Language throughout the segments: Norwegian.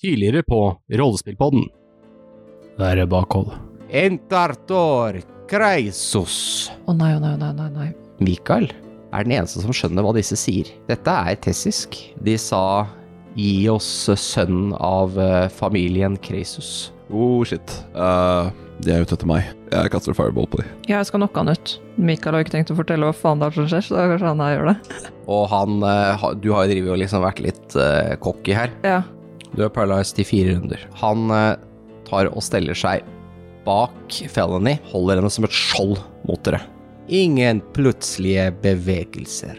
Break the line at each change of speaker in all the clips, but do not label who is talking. tidligere på Rollespillpodden.
Være bakhold.
Entartor Kreisos.
Å nei, å nei, å nei, nei, nei.
Mikael er den eneste som skjønner hva disse sier. Dette er tessisk. De sa gi oss sønnen av eh, familien Kreisos.
Oh, shit. Eh, de er ute etter meg. Jeg kaster fireball på dem.
Jeg skal nokke han ut. Mikael har ikke tenkt å fortelle hva faen det er som skjer, så da kanskje han her gjør det.
Og han eh, ha- Du har jo drevet og liksom vært litt eh, cocky her.
Ja.
Du er paralyzed i fire runder. Han eh, tar og steller seg bak Felony, holder henne som et skjold mot dere. Ingen plutselige bevegelser.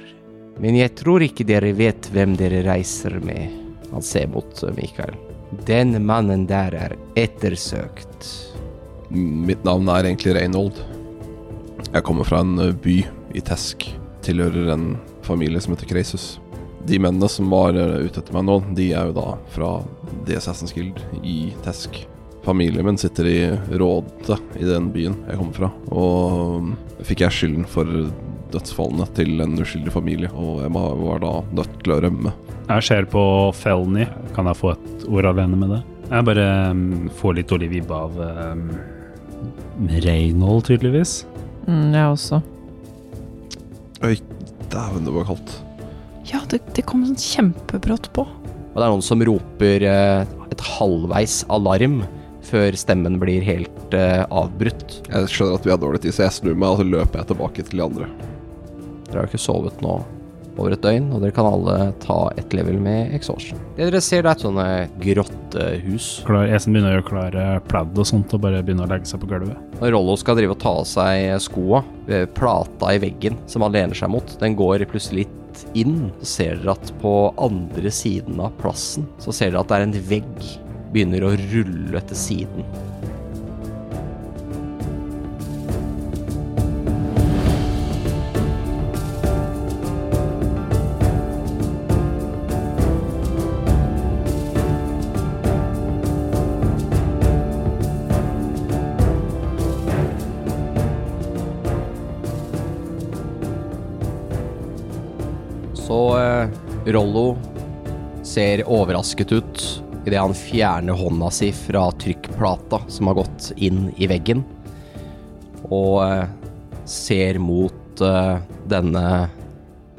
Men jeg tror ikke dere vet hvem dere reiser med. Han ser mot eh, Mikael. Den mannen der er ettersøkt.
Mitt navn er egentlig Reynold. Jeg kommer fra en eh, by i Tesk. Tilhører en familie som heter Kreisus. De mennene som var eh, ute etter meg nå, de er jo da fra The Assassin's Guild i Tesk. Familien min sitter i rådet i den byen jeg kommer fra, og eh, fikk jeg skylden for dødsfallene til en uskyldig familie, og jeg var var da nødt til å rømme.
Jeg ser på Felny. Kan jeg få et ord alene med det? Jeg bare mm, får litt dårlig vibbe av um, Reynold, tydeligvis.
Mm, jeg også.
Oi, dæven, det var kaldt.
Ja, det, det kom sånn kjempebrått på.
Og det er noen som roper eh, et halvveis alarm før stemmen blir helt eh, avbrutt.
Jeg skjønner at vi har dårlig tid, så jeg snur meg og så løper jeg tilbake til de andre.
Dere har jo ikke sovet nå over et døgn, og dere kan alle ta ett level med exhaustion. Det dere ser, det er et sånne grottehus.
Klar, Esen begynner å gjøre klar eh, pladd og sånt, og bare begynner å legge seg på gulvet.
Når Rollo skal drive og ta av seg skoa, eh, plata i veggen som han lener seg mot, den går plutselig litt inn. Så ser dere at på andre siden av plassen, så ser dere at det er en vegg begynner å rulle til siden. Så eh, Rollo ser overrasket ut idet han fjerner hånda si fra trykkplata som har gått inn i veggen, og eh, ser mot eh, denne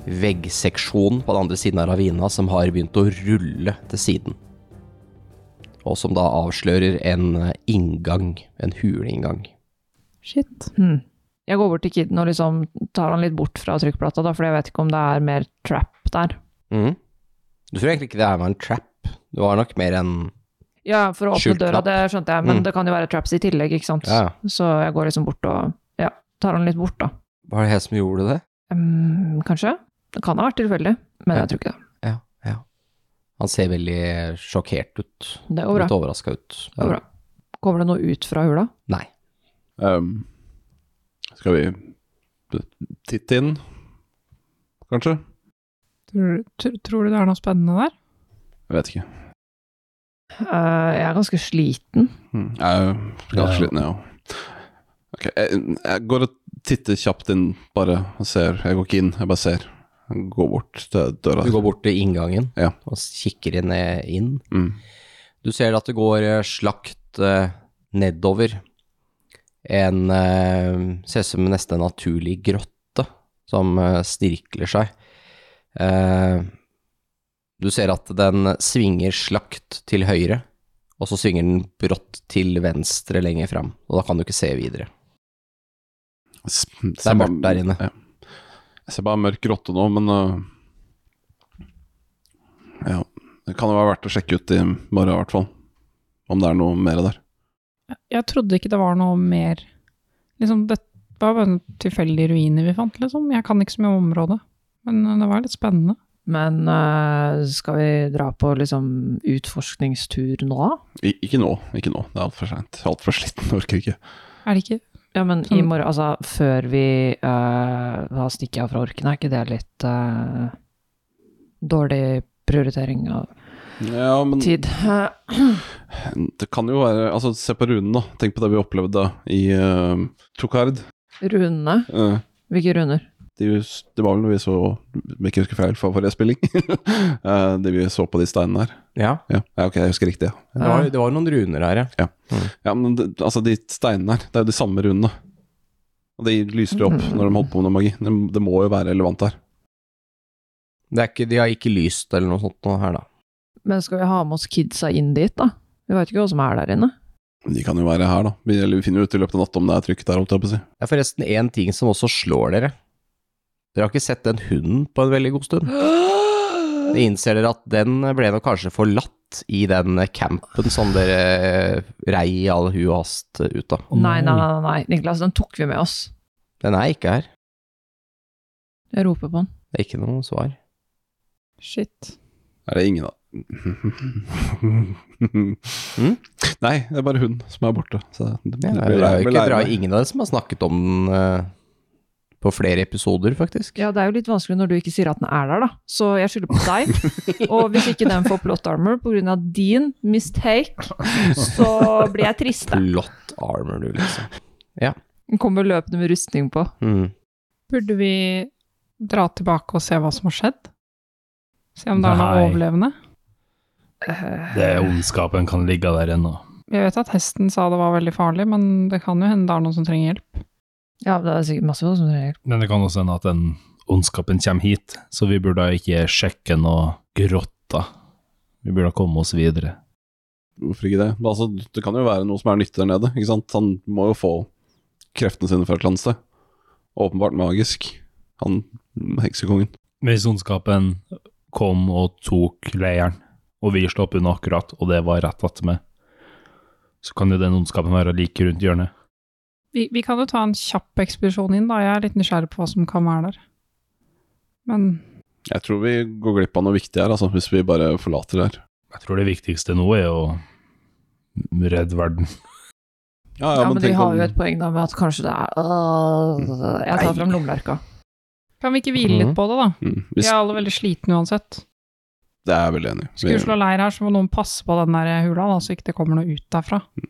veggseksjonen på den andre siden av ravina som har begynt å rulle til siden. Og som da avslører en eh, inngang, en huleinngang.
Shit. Hmm. Jeg går bort til kiden og liksom tar han litt bort fra trykkplata, da, for jeg vet ikke om det er mer trap der.
Mhm. Du tror egentlig ikke det her var en trap, det var nok mer en
Ja, for å åpne
Skjult
døra,
trapp.
det skjønte jeg, men
Mm.
det kan jo være traps i tillegg, ikke sant.
Ja.
Så jeg går liksom bort og ja, tar han litt bort, da.
Hva er det her som gjorde det?
Mm, kanskje? Det kan ha vært tilfeldig, men
Ja.
jeg tror ikke det.
Ja, ja. Han ser veldig sjokkert ut.
Det går bra.
Litt overraska ut.
Det går bra. Kommer det noe ut fra hula?
Nei.
Ehm, skal vi t- titte inn, kanskje?
Tror, tr- tror du det er noe spennende der?
Jeg vet ikke.
Eh, jeg er ganske sliten.
Hmm, Jeg er ganske
Ja.
sliten, jeg òg. Ok, jeg, jeg går og titter kjapt inn, bare, og ser. Jeg går ikke inn, jeg bare ser. Jeg går bort til døra.
Du går bort til inngangen
Ja.
og kikker inn, eh, inn.
Mm.
Du ser at det går eh, slakt eh, nedover. En eh, Ser ut som en nesten naturlig grotte som eh, stirkler seg. Eh, du ser at den svinger slakt til høyre, og så svinger den brått til venstre lenger fram. Og da kan du ikke se videre.
S-
er
ser bare-
mørkt der inne.
Ja. Jeg ser bare en mørk grotte nå, men øh, Ja. Det kan jo være verdt å sjekke ut i morgen, i hvert fall. Om det er noe mer der.
Jeg trodde ikke det var noe mer Liksom, det var bare en tilfeldig ruiner vi fant, liksom. Jeg kan ikke så mye om området. Men eh, det var litt spennende.
Men eh, skal vi dra på liksom utforskningstur nå?
I, ikke nå, ikke nå. Det er altfor seint. Altfor sliten, orker ikke.
Er det ikke?
Ja, men i
Sånn.
morgen, altså før vi eh, Da stikker jeg av fra orken, er ikke det litt eh, dårlig prioritering av
Ja, men
tid?
det kan jo være Altså, se på runen, da. Tenk på det vi opplevde i uh, Tokard.
Runene?
Eh,
Hvilke runer?
de, hus- det var vel når vi så Om jeg ikke husker feil fra forrige spilling. Eh, det vi så på de steinene her.
Ja,
Ja, ja ok, jeg husker riktig. Ja,
det var, det var noen runer her, ja.
ja men det, altså, de steinene her, det er jo de samme runene. Og de lyser jo opp når de holder på med noe magi. Det, det må jo være relevant her.
Det er ikke, de har ikke lyst eller noe sånt nå her, da.
Men skal vi ha med oss kidsa inn dit, da? Vi veit ikke hva som er der inne.
De kan jo være her, da. Vi, eller vi finner jo ut i løpet av natta om det er trykket der, holdt jeg på å si.
Det er forresten én ting som også slår dere. Dere har ikke sett den hunden på en veldig god stund. Det innser dere at den ble nok kanskje forlatt i den campen som dere eh, rei i all hu og hast ut av.
Nei, nei, nei, nei, nei. Niklas, den tok vi med oss.
Den er ikke her.
Jeg roper på den.
Det er ikke noe svar.
Shit.
Er det ingen av Nei, det er bare hun som er borte. Så det,
Det er det er jo ikke bra. Ingen av dere som har snakket om den eh, på flere episoder, faktisk.
Ja, det er jo litt vanskelig når du ikke sier at den er der, da. Så jeg skylder på deg. Og hvis ikke den får plot armor på grunn av din mistake, så blir jeg trist. da.
Plot armor, du, liksom.
Den kommer løpende med rustning på.
Mm.
Burde vi dra tilbake og se hva som har skjedd? Se om det er noe
Nei.
overlevende?
Det ondskapen kan ligge der ennå.
Jeg vet at hesten sa det var veldig farlig, men det kan jo hende det er noen som trenger hjelp.
Ja, det er sikkert masse folk som trenger hjelp.
Men det kan også hende at den ondskapen kommer hit, så vi burde ikke sjekke noe grotta. Vi burde komme oss videre.
Hvorfor ikke det? Men Altså, det kan jo være noe som er nyttig der nede. Ikke sant? Han må jo få kreftene sine fra et eller annet sted. Åpenbart magisk. Han heksekongen.
Hvis ondskapen kom og tok leiren, og vi slapp unna akkurat, og det var rett attmed, så kan jo den ondskapen være like rundt hjørnet.
Vi, vi kan jo ta en kjapp ekspedisjon inn, da. Jeg er litt nysgjerrig på hva som kan være der. Men
Jeg tror vi går glipp av noe viktig her, altså, hvis vi bare forlater det her.
Jeg tror det viktigste nå er å redde verden.
Ja,
Ja, men vi
tenk
har
om-
jo et poeng da med at kanskje det er Øh, Jeg tar fram lommelerka.
kan vi ikke hvile litt
Mhm.
på det, da?
Mm,
Vi
hvis,
er alle veldig slitne uansett.
Det er jeg veldig enig i.
Skulle vi slå leir her, så må noen passe på den der hula, da, så ikke det kommer noe ut derfra.
Vi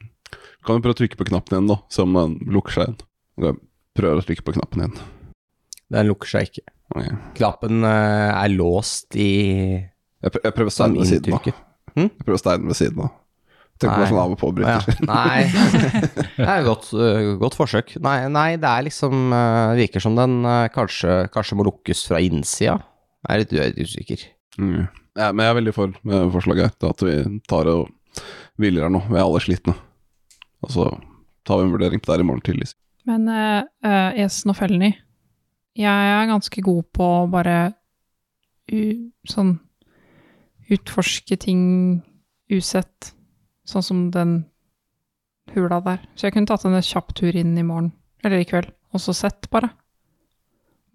kan jo prøve å trykke på knappen igjen, da. Se om den lukker seg igjen. Ok, Prøver å trykke på knappen igjen.
Den lukker seg ikke.
Ok.
Knappen eh, er låst i
Jeg, prø- jeg prøver steinen ved siden av.
inntrykket.
Jeg prøver steinen ved siden av. Tenk på
Nei.
sånn av
Å,
og på-bryter.
ja. Nei. Det er et godt, øh, godt forsøk. Nei, nei, det er liksom øh, Virker som den øh, kanskje, kanskje må lukkes fra innsida. Jeg er litt, jeg er litt usikker.
Mm. Ja, men jeg er veldig for med forslaget her. det At vi tar og hviler her nå. Vi er alle slitne. Og så tar vi en vurdering på det her i morgen tidlig.
Men eh, eh, Esen og Felny, jeg er ganske god på å bare u, sånn utforske ting usett, sånn som den hula der. Så jeg kunne tatt en kjapp tur inn i morgen, eller i kveld, og så sett bare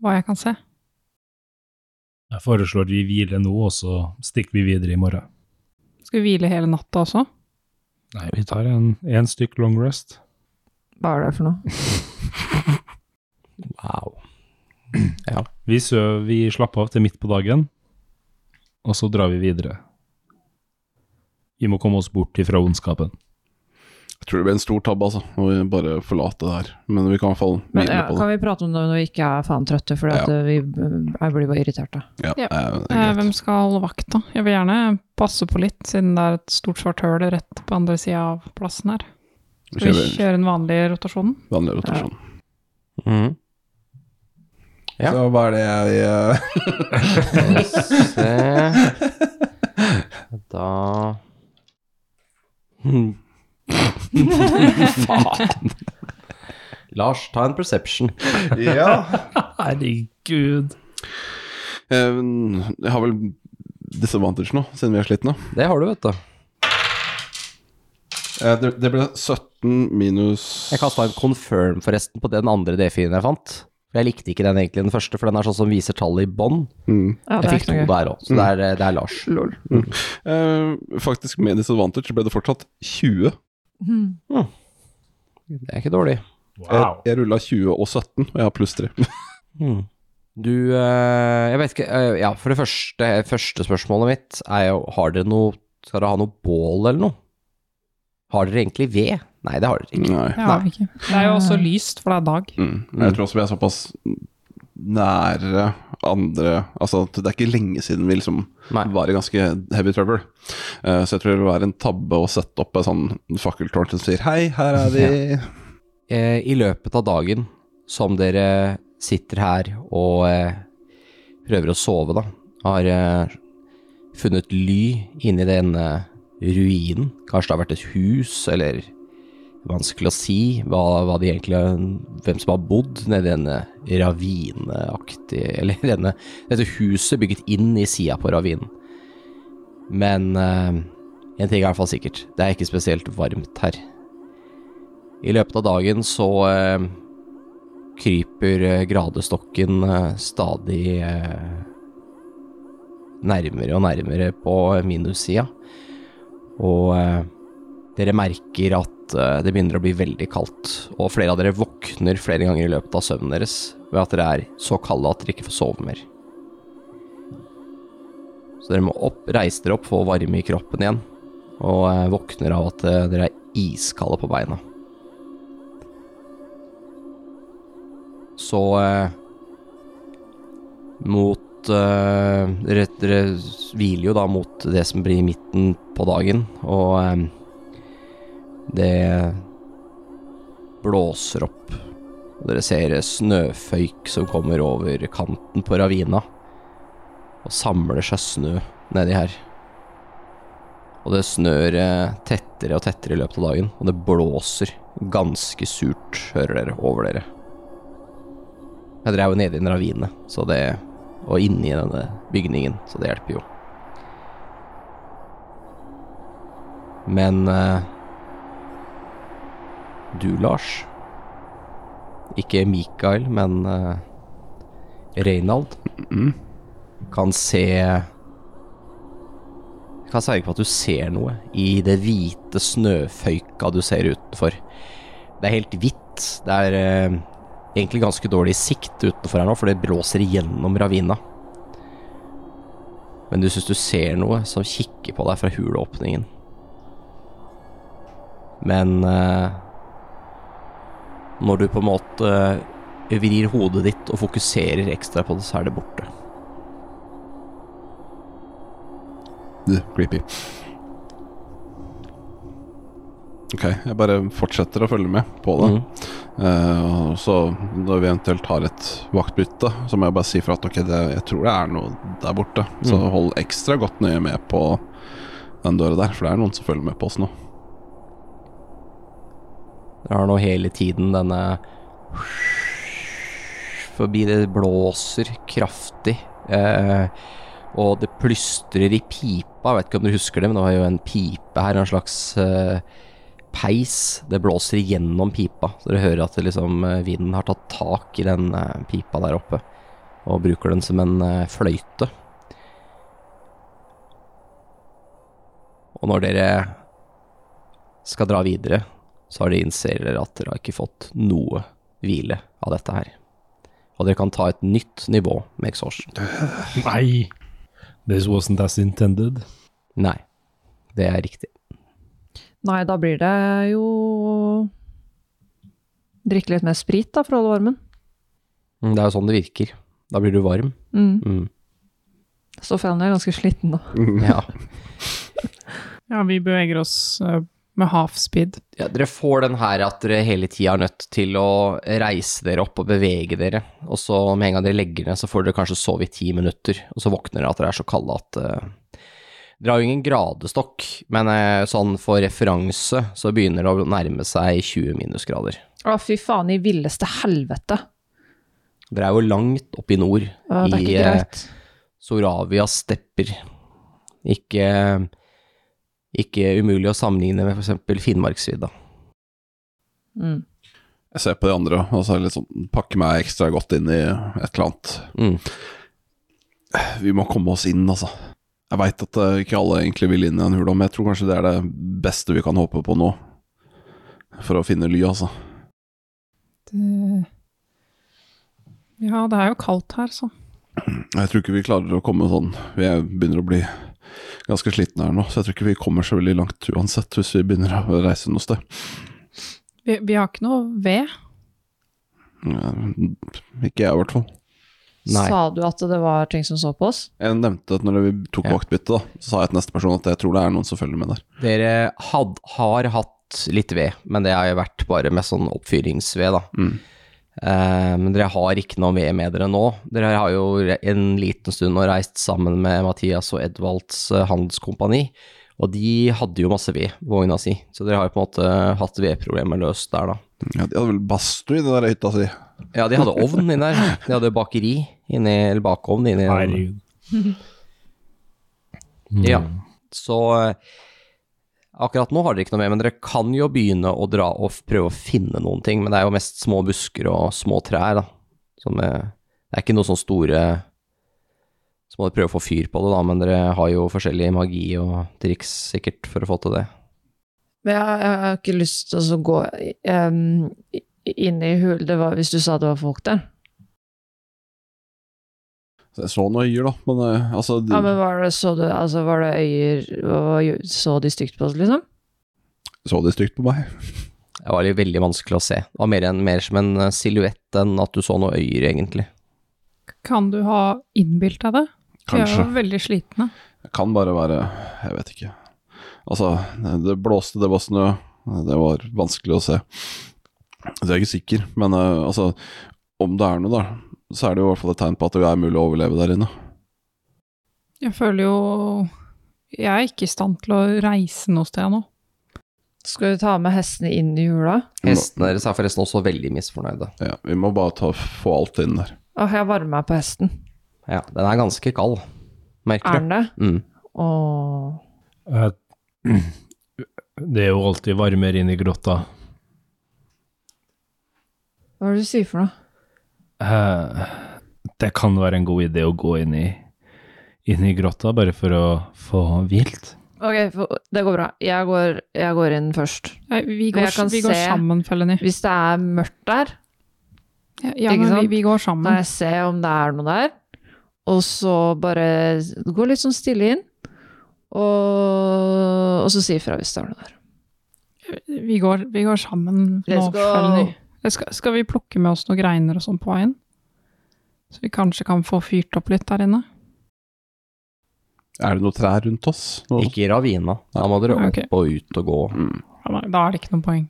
hva jeg kan se.
Jeg foreslår vi hviler nå, og så stikker vi videre i morgen.
Skal vi hvile hele natta også?
Nei, vi tar en, en stykk long rest.
Hva er det for noe?
Wow.
Vi, søv, vi slapper av til midt på dagen, og så drar vi videre. Vi må komme oss bort ifra ondskapen.
Jeg tror det blir en stor tabbe, altså. Når vi bare forlater det her. Men vi kan i hvert fall
Men
hvile
ja,
på det.
Kan vi prate om det når vi ikke er faen trøtte, for
Ja.
vi jeg blir bare irriterte.
Ja,
Ja.
eh, det
Eh,
er greit.
hvem skal holde vakt, da? Jeg vil gjerne passe på litt, siden det er et stort svart høl rett på andre sida av plassen her.
Vi
Skal vi
kjører
kjøre den vanlige rotasjonen?
vanlig rotasjon.
Mhm. Ja.
Så hva er det jeg eh,
Skal vi Se Da Hmm. Faen. Lars, ta en perception.
Ja.
Herregud.
Eh, Jeg har vel disadvantage nå, siden vi er slitne.
Det har du, vet du.
Eh, Det, det ble 17 minus
Jeg kasta en confirm forresten på den andre D4-en jeg fant. For Jeg likte ikke den egentlig, den første, for den er sånn som viser tallet i bånn.
Mm.
Ja, det
Jeg
er
fikk
ikke
to
noe gøy.
der òg, så det er, det er Lars.
Eh, Faktisk, med disadvantage ble det fortsatt 20.
Hmm.
Det er ikke dårlig.
Jeg, jeg rulla 20 og 17, og jeg har pluss 3.
Hmm. Du, eh, jeg vet ikke eh, Ja, for det første, første spørsmålet mitt er jo Har dere noe Skal dere ha noe bål eller noe? Har dere egentlig ved? Nei,
Mm.
det har dere ikke.
Nei.
Eh. Det har vi ikke. Det er jo også lyst, for det er dag.
Mm. Jeg tror også vi er såpass nære andre Altså at det er ikke lenge siden vi liksom
Nei.
var i ganske heavy trouble. Eh, så jeg tror det vil være en tabbe å sette opp et sånn fakkeltårn som sier hei, her er vi.
eh, i løpet av dagen som dere sitter her og eh, prøver å sove, da, har eh, funnet ly inni denne ruinen. Kanskje det har vært et hus, eller vanskelig å si hva, hva de egentlig, hvem som har bodd nedi denne ravineaktige Eller denne, dette huset bygget inn i sida på ravinen. Men eh, en ting er i hvert fall sikkert. Det er ikke spesielt varmt her. I løpet av dagen så eh, kryper eh, gradestokken eh, stadig eh, nærmere og nærmere på minussida. Og eh, dere merker at eh, det begynner å bli veldig kaldt, og flere av dere våkner flere ganger i løpet av søvnen deres ved at dere er så kalde at dere ikke får sove mer. Så dere må opp, reise dere opp, få varme i kroppen igjen, og eh, våkner av at eh, dere er iskalde på beina. Så eh, mot eh, dere, dere hviler jo da mot det som blir midten på dagen, og eh, det blåser opp. Og dere ser snøføyk som kommer over kanten på ravina, og samler seg snø nedi her. Og det snør eh, tettere og tettere i løpet av dagen, og det blåser ganske surt, hører dere, over dere. Ja, Dere er jo nede i en ravine, så det Og inni denne bygningen, så det hjelper jo. Men eh, Du, Lars. Ikke Mikael, men eh, Reynold. Kan se Jeg kan sverge på at du ser noe i det hvite snøføyka du ser utenfor. Det er helt hvitt. Det er eh, egentlig ganske dårlig sikt utenfor her nå, for det blåser igjennom ravina. Men du syns du ser noe som kikker på deg fra huleåpningen. Men eh, når du på en måte eh, vrir hodet ditt og fokuserer ekstra på det, så er det borte.
Du, Creepy. Ok, jeg bare fortsetter å følge med på det.
Mm.
Eh, og så når vi eventuelt har et vaktbytte, så må jeg bare si fra at ok, det, jeg tror det er noe der borte. Så
Mm.
hold ekstra godt nøye med på den døra der, for det er noen som følger med på oss nå.
Det har nå hele tiden denne Forbi det blåser kraftig. Eh, og det plystrer i pipa. Jeg vet ikke om dere husker det, men det var jo en pipe her. En slags eh, peis. Det blåser gjennom pipa. Så dere hører at det liksom, eh, vinden har tatt tak i den eh, pipa der oppe. Og bruker den som en eh, fløyte. Og når dere skal dra videre, så har de innser dere at dere har ikke fått noe hvile av dette her. Og dere kan ta et nytt nivå med exhaustion.
Nei! This wasn't as intended.
Nei, det er riktig.
Nei, da blir det jo Drikke litt mer sprit, da, for å holde varmen.
Mm, Det er jo sånn det virker. Da blir du varm.
Mm.
Mm.
Så Fanny er ganske sliten nå.
Ja.
Ja, vi beveger oss eh, med half speed.
ja. Dere får den her at dere hele tida er nødt til å reise dere opp og bevege dere. Og så med en gang dere legger ned, så får dere kanskje sove i ti minutter. Og så våkner dere at dere er så kalde at eh, Dere har jo ingen gradestokk, men eh, sånn for referanse så begynner det å nærme seg 20 minusgrader.
Å, fy faen, i villeste helvete.
Dere er jo langt oppe i nord.
Å, det er
i,
ikke
eh,
greit.
Soravias stepper. Ikke, ikke umulig å sammenligne med f.eks. Finnmarksvidda.
Mm.
Jeg ser på de andre og så er det litt sånn, pakker meg ekstra godt inn i et eller annet.
Mm.
Vi må komme oss inn, altså. Jeg veit at eh, ikke alle egentlig vil inn i en hule, men jeg tror kanskje det er det beste vi kan håpe på nå. For å finne ly, altså.
Det... Eh, Ja, det er jo kaldt her, så.
Jeg tror ikke vi klarer å komme sånn Vi er- begynner å bli ganske slitne her nå, så jeg tror ikke vi kommer så veldig langt uansett hvis vi begynner å reise noe sted.
Vi, vi har ikke noe ved.
Eh, Ikke jeg, i hvert fall.
Nei.
Sa du at det var ting som så på oss?
Jeg nevnte at når vi tok
Ja.
vaktbytte, da, så sa jeg til neste person at jeg tror det er noen som følger med der.
Dere had, har hatt litt ved, men det har jo vært bare med sånn oppfyringsved, da.
Mm.
Eh, Men dere har ikke noe ved med dere nå. Dere har jo re- en liten stund nå reist sammen med Mathias og Edvalds eh, handelskompani, og de hadde jo masse ved, vogna si, så dere har jo på en måte hatt vedproblemer løst der, da.
Ja, de hadde vel badstue i den der hytta si.
Ja, de hadde ovn inni der. De hadde bakeri, inni, eller bakovn inni
Herregud.
Ja. Så eh, akkurat nå har dere ikke noe med, men dere kan jo begynne å dra og f- prøve å finne noen ting. Men det er jo mest små busker og små trær, da. Som, eh, det er ikke noe sånn store Så må dere prøve å få fyr på det, da, men dere har jo forskjellig magi og triks sikkert for å få til det.
Men jeg, jeg har ikke lyst til å så gå um, inn i hul. Det var hvis du sa det var folk der.
Så jeg så noen øyer, da, men eh, altså de,
Ja, men var det, så du, altså, var det øyer og Så de stygt på oss, liksom?
Så de stygt på meg?
Det var jo veldig vanskelig å se. Det var mer, en, mer som en eh, silhuett enn at du så noen øyer, egentlig.
Kan du ha innbilt deg det? Vi
Kanskje.
er jo veldig slitne.
Det kan bare være Jeg vet ikke. Altså, det blåste, det var snø. Det var vanskelig å se. Så jeg er ikke sikker, men eh, altså Om det er noe, da, så er det jo i hvert fall et tegn på at det er mulig å overleve der inne.
Jeg føler jo Jeg er ikke i stand til å reise noe sted nå.
Skal vi ta med hestene inn i hula?
Vi må,
Hestene deres er forresten også veldig misfornøyde.
ja, vi må bare ta, få alt inn der.
Åh, jeg varmer meg på hesten.
Ja, den er ganske kald,
Er
merker du.
den det?
Mm.
Åh.
Eh, Det er jo alltid varmere inn i grotta.
Hva er det du sier for noe?
Eh, Det kan være en god idé å gå inn i, inn i grotta bare for å få hvilt.
Ok, for- det går bra. Jeg går, jeg går inn først.
Eh, Vi
Men
går,
jeg kan
vi går
se-
sammen, Felony.
Hvis det er mørkt der,
Ja, ja,
Ikke
men vi,
sant?
vi går
da
sammen.
jeg ser om det er noe der. Og så bare gå litt sånn stille inn, og, og så si ifra hvis det er noe der.
Vi går, vi går sammen
Let's
nå,
go!
Felony. Eh, Skal, skal vi plukke med oss noen greiner og sånn på veien? Så vi kanskje kan få fyrt opp litt der inne?
Er det noe trær rundt oss? Noe?
Mm. Ikke i ravina. Da må dere opp
Ok.
og ut og gå.
Mm.
Ja, nei, Da er det ikke noe poeng.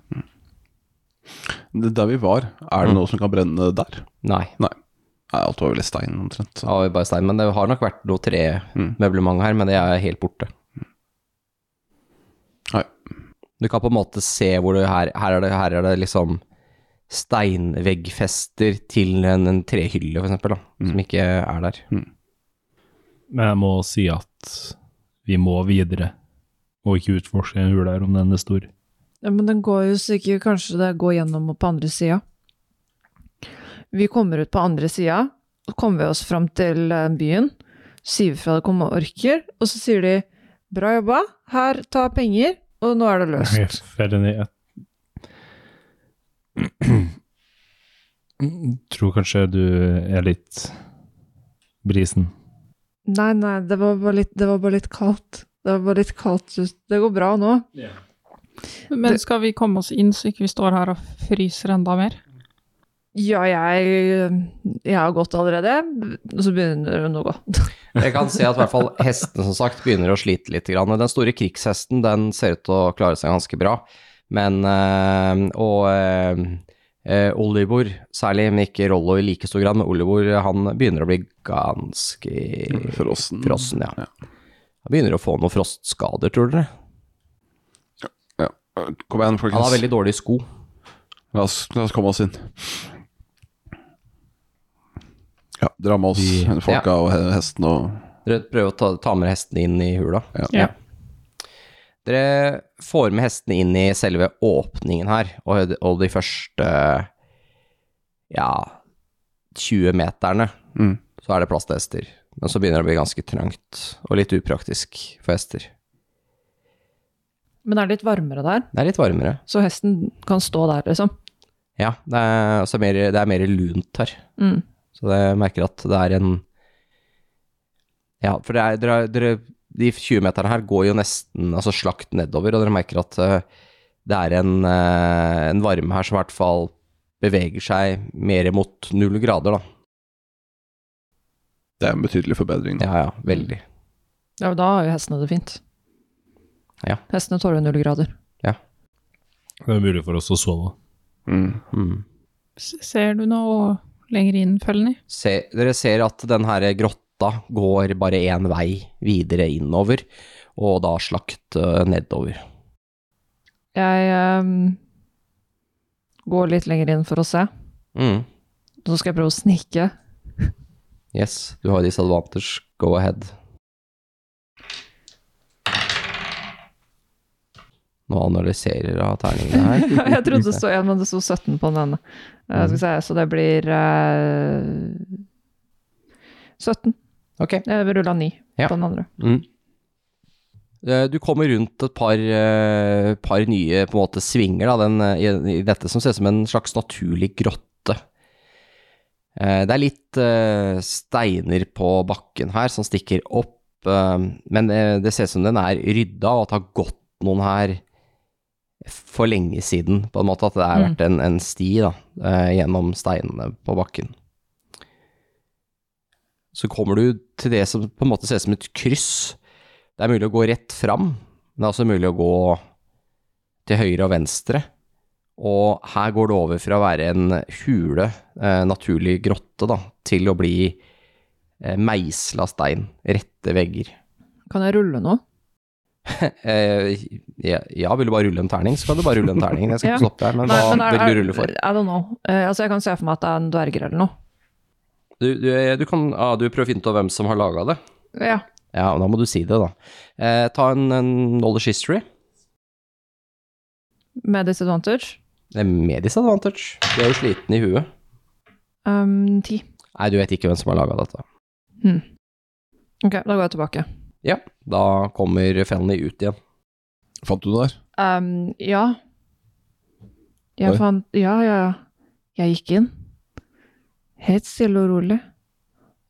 Det, der vi var, er
Mm.
det noe som kan brenne der?
Nei.
Nei, alt var vel i stein, omtrent.
Det
Så.
var jo bare stein, men det har nok vært noe
Mm.
tremøblement her, men det er helt borte.
Nei.
Du kan på en måte se hvor det her, her, er, det, her er det liksom steinveggfester til en, en trehylle, for eksempel, da,
Mm.
som ikke er der.
Men jeg må si at vi må videre, og ikke utforske en hule her om den er stor.
Ja, men den går jo sikkert Kanskje det går gjennom og på andre sida. Vi kommer ut på andre sida, så kommer vi oss fram til eh, byen. Så sier vi fra det kommer orker, og så sier de 'bra jobba, her, ta penger', og nå er det løst.
Ferdig ned. Tror kanskje du er litt brisen.
Nei, nei, det var bare litt, det var bare litt kaldt. Det var bare litt kaldt. ut. Det går bra nå.
Men skal vi komme oss inn, så ikke vi står her og fryser enda mer?
Ja, jeg, jeg har gått allerede, og så begynner hun å gå.
Jeg kan se at i hvert fall hestene som sagt begynner å slite litt. Grann. Den store krigshesten den ser ut til å klare seg ganske bra, men eh, Og eh, eh, Olivor særlig, men ikke Rollo i like stor grad, men Olivor han begynner å bli ganske
Frossen.
frossen, ja.
Ja.
Han begynner å få noen frostskader, tror dere.
Kom
Han har
igjen, folkens.
veldig dårlige sko.
La oss, la oss komme oss inn. Ja, dra med oss
Vi-
folka og he- hesten og
Dere prøver å ta, ta med hestene inn i hula.
Ja.
Ja.
Dere får med hestene inn i selve åpningen her, og, og de første ja, 20 meterne,
Mm.
så er det plass til hester. Men så begynner det å bli ganske trangt, og litt upraktisk for hester.
Men det er litt varmere der,
Det er litt varmere.
så hesten kan stå der, liksom.
Ja, det er, altså mer, det er mer lunt her.
Mm.
Så det- jeg merker at det er en Ja, for det er, dere, er- dere, de 20 meterne her går jo nesten altså slakt nedover, og dere merker at eh, det er en, eh, en varme her som i hvert fall beveger seg mer mot null grader, da.
Det er en betydelig forbedring.
Ja, ja, veldig.
Ja, da har jo hestene det fint.
Ja.
Hestene tåler null grader.
Det er mulig for oss å sove.
Mm.
Mm.
S- Ser du noe lenger inn, Felny?
Se, dere ser at den her grotta går bare én vei videre innover, og da slakt eh, nedover.
Jeg ehm, går litt lenger inn for å se.
Mm.
Så skal jeg prøve å snike.
Yes, du har disadvantage, go ahead. Nå analyserer jeg terningene her.
jeg trodde det sto én, men det sto 17 på den ene. Eh, skal vi se, så det blir eh, 17.
Ok.
Jeg rulla 9
Ja.
på den andre.
Mm. Eh, Du kommer rundt et par, eh, par nye på en måte svinger da, den, eh, i, i dette som ser ut som en slags naturlig grotte. Eh, Det er litt eh, steiner på bakken her som stikker opp, eh, men eh, det ser ut som den er rydda og at det har gått noen her for lenge siden, på en måte at det har vært en, en sti da, eh, gjennom steinene på bakken. Så kommer du til det som på en måte ser ut som et kryss. Det er mulig å gå rett fram, men det er også mulig å gå til høyre og venstre. Og her går det over fra å være en hule, eh, naturlig grotte, da, til å bli eh, meisla stein, rette vegger.
Kan jeg rulle nå?
Eh, ja, ja, vil du bare rulle en terning, så kan du bare rulle en terning. Jeg skal
Ja.
ikke stoppe deg, men hva vil du rulle for?
I don't know. Eh, altså, jeg kan se for meg at det er en dverger eller noe.
Du, du, du, kan, ah, du prøver å finne ut av hvem som har laga det.
Ja.
Ja, og da må du si det, da. Eh, ta en, en knowledge history.
Med disadvantage.
Det er med disadvantage. Du er jo sliten i huet.
Um, 10.
Nei, du vet ikke hvem som har laga dette.
Ok, da går jeg tilbake.
Ja, da kommer Fenley ut igjen.
Fant du det der?
Um, ja. Jeg
Oi.
fant Ja, ja, ja. Jeg gikk inn. Helt stille og rolig.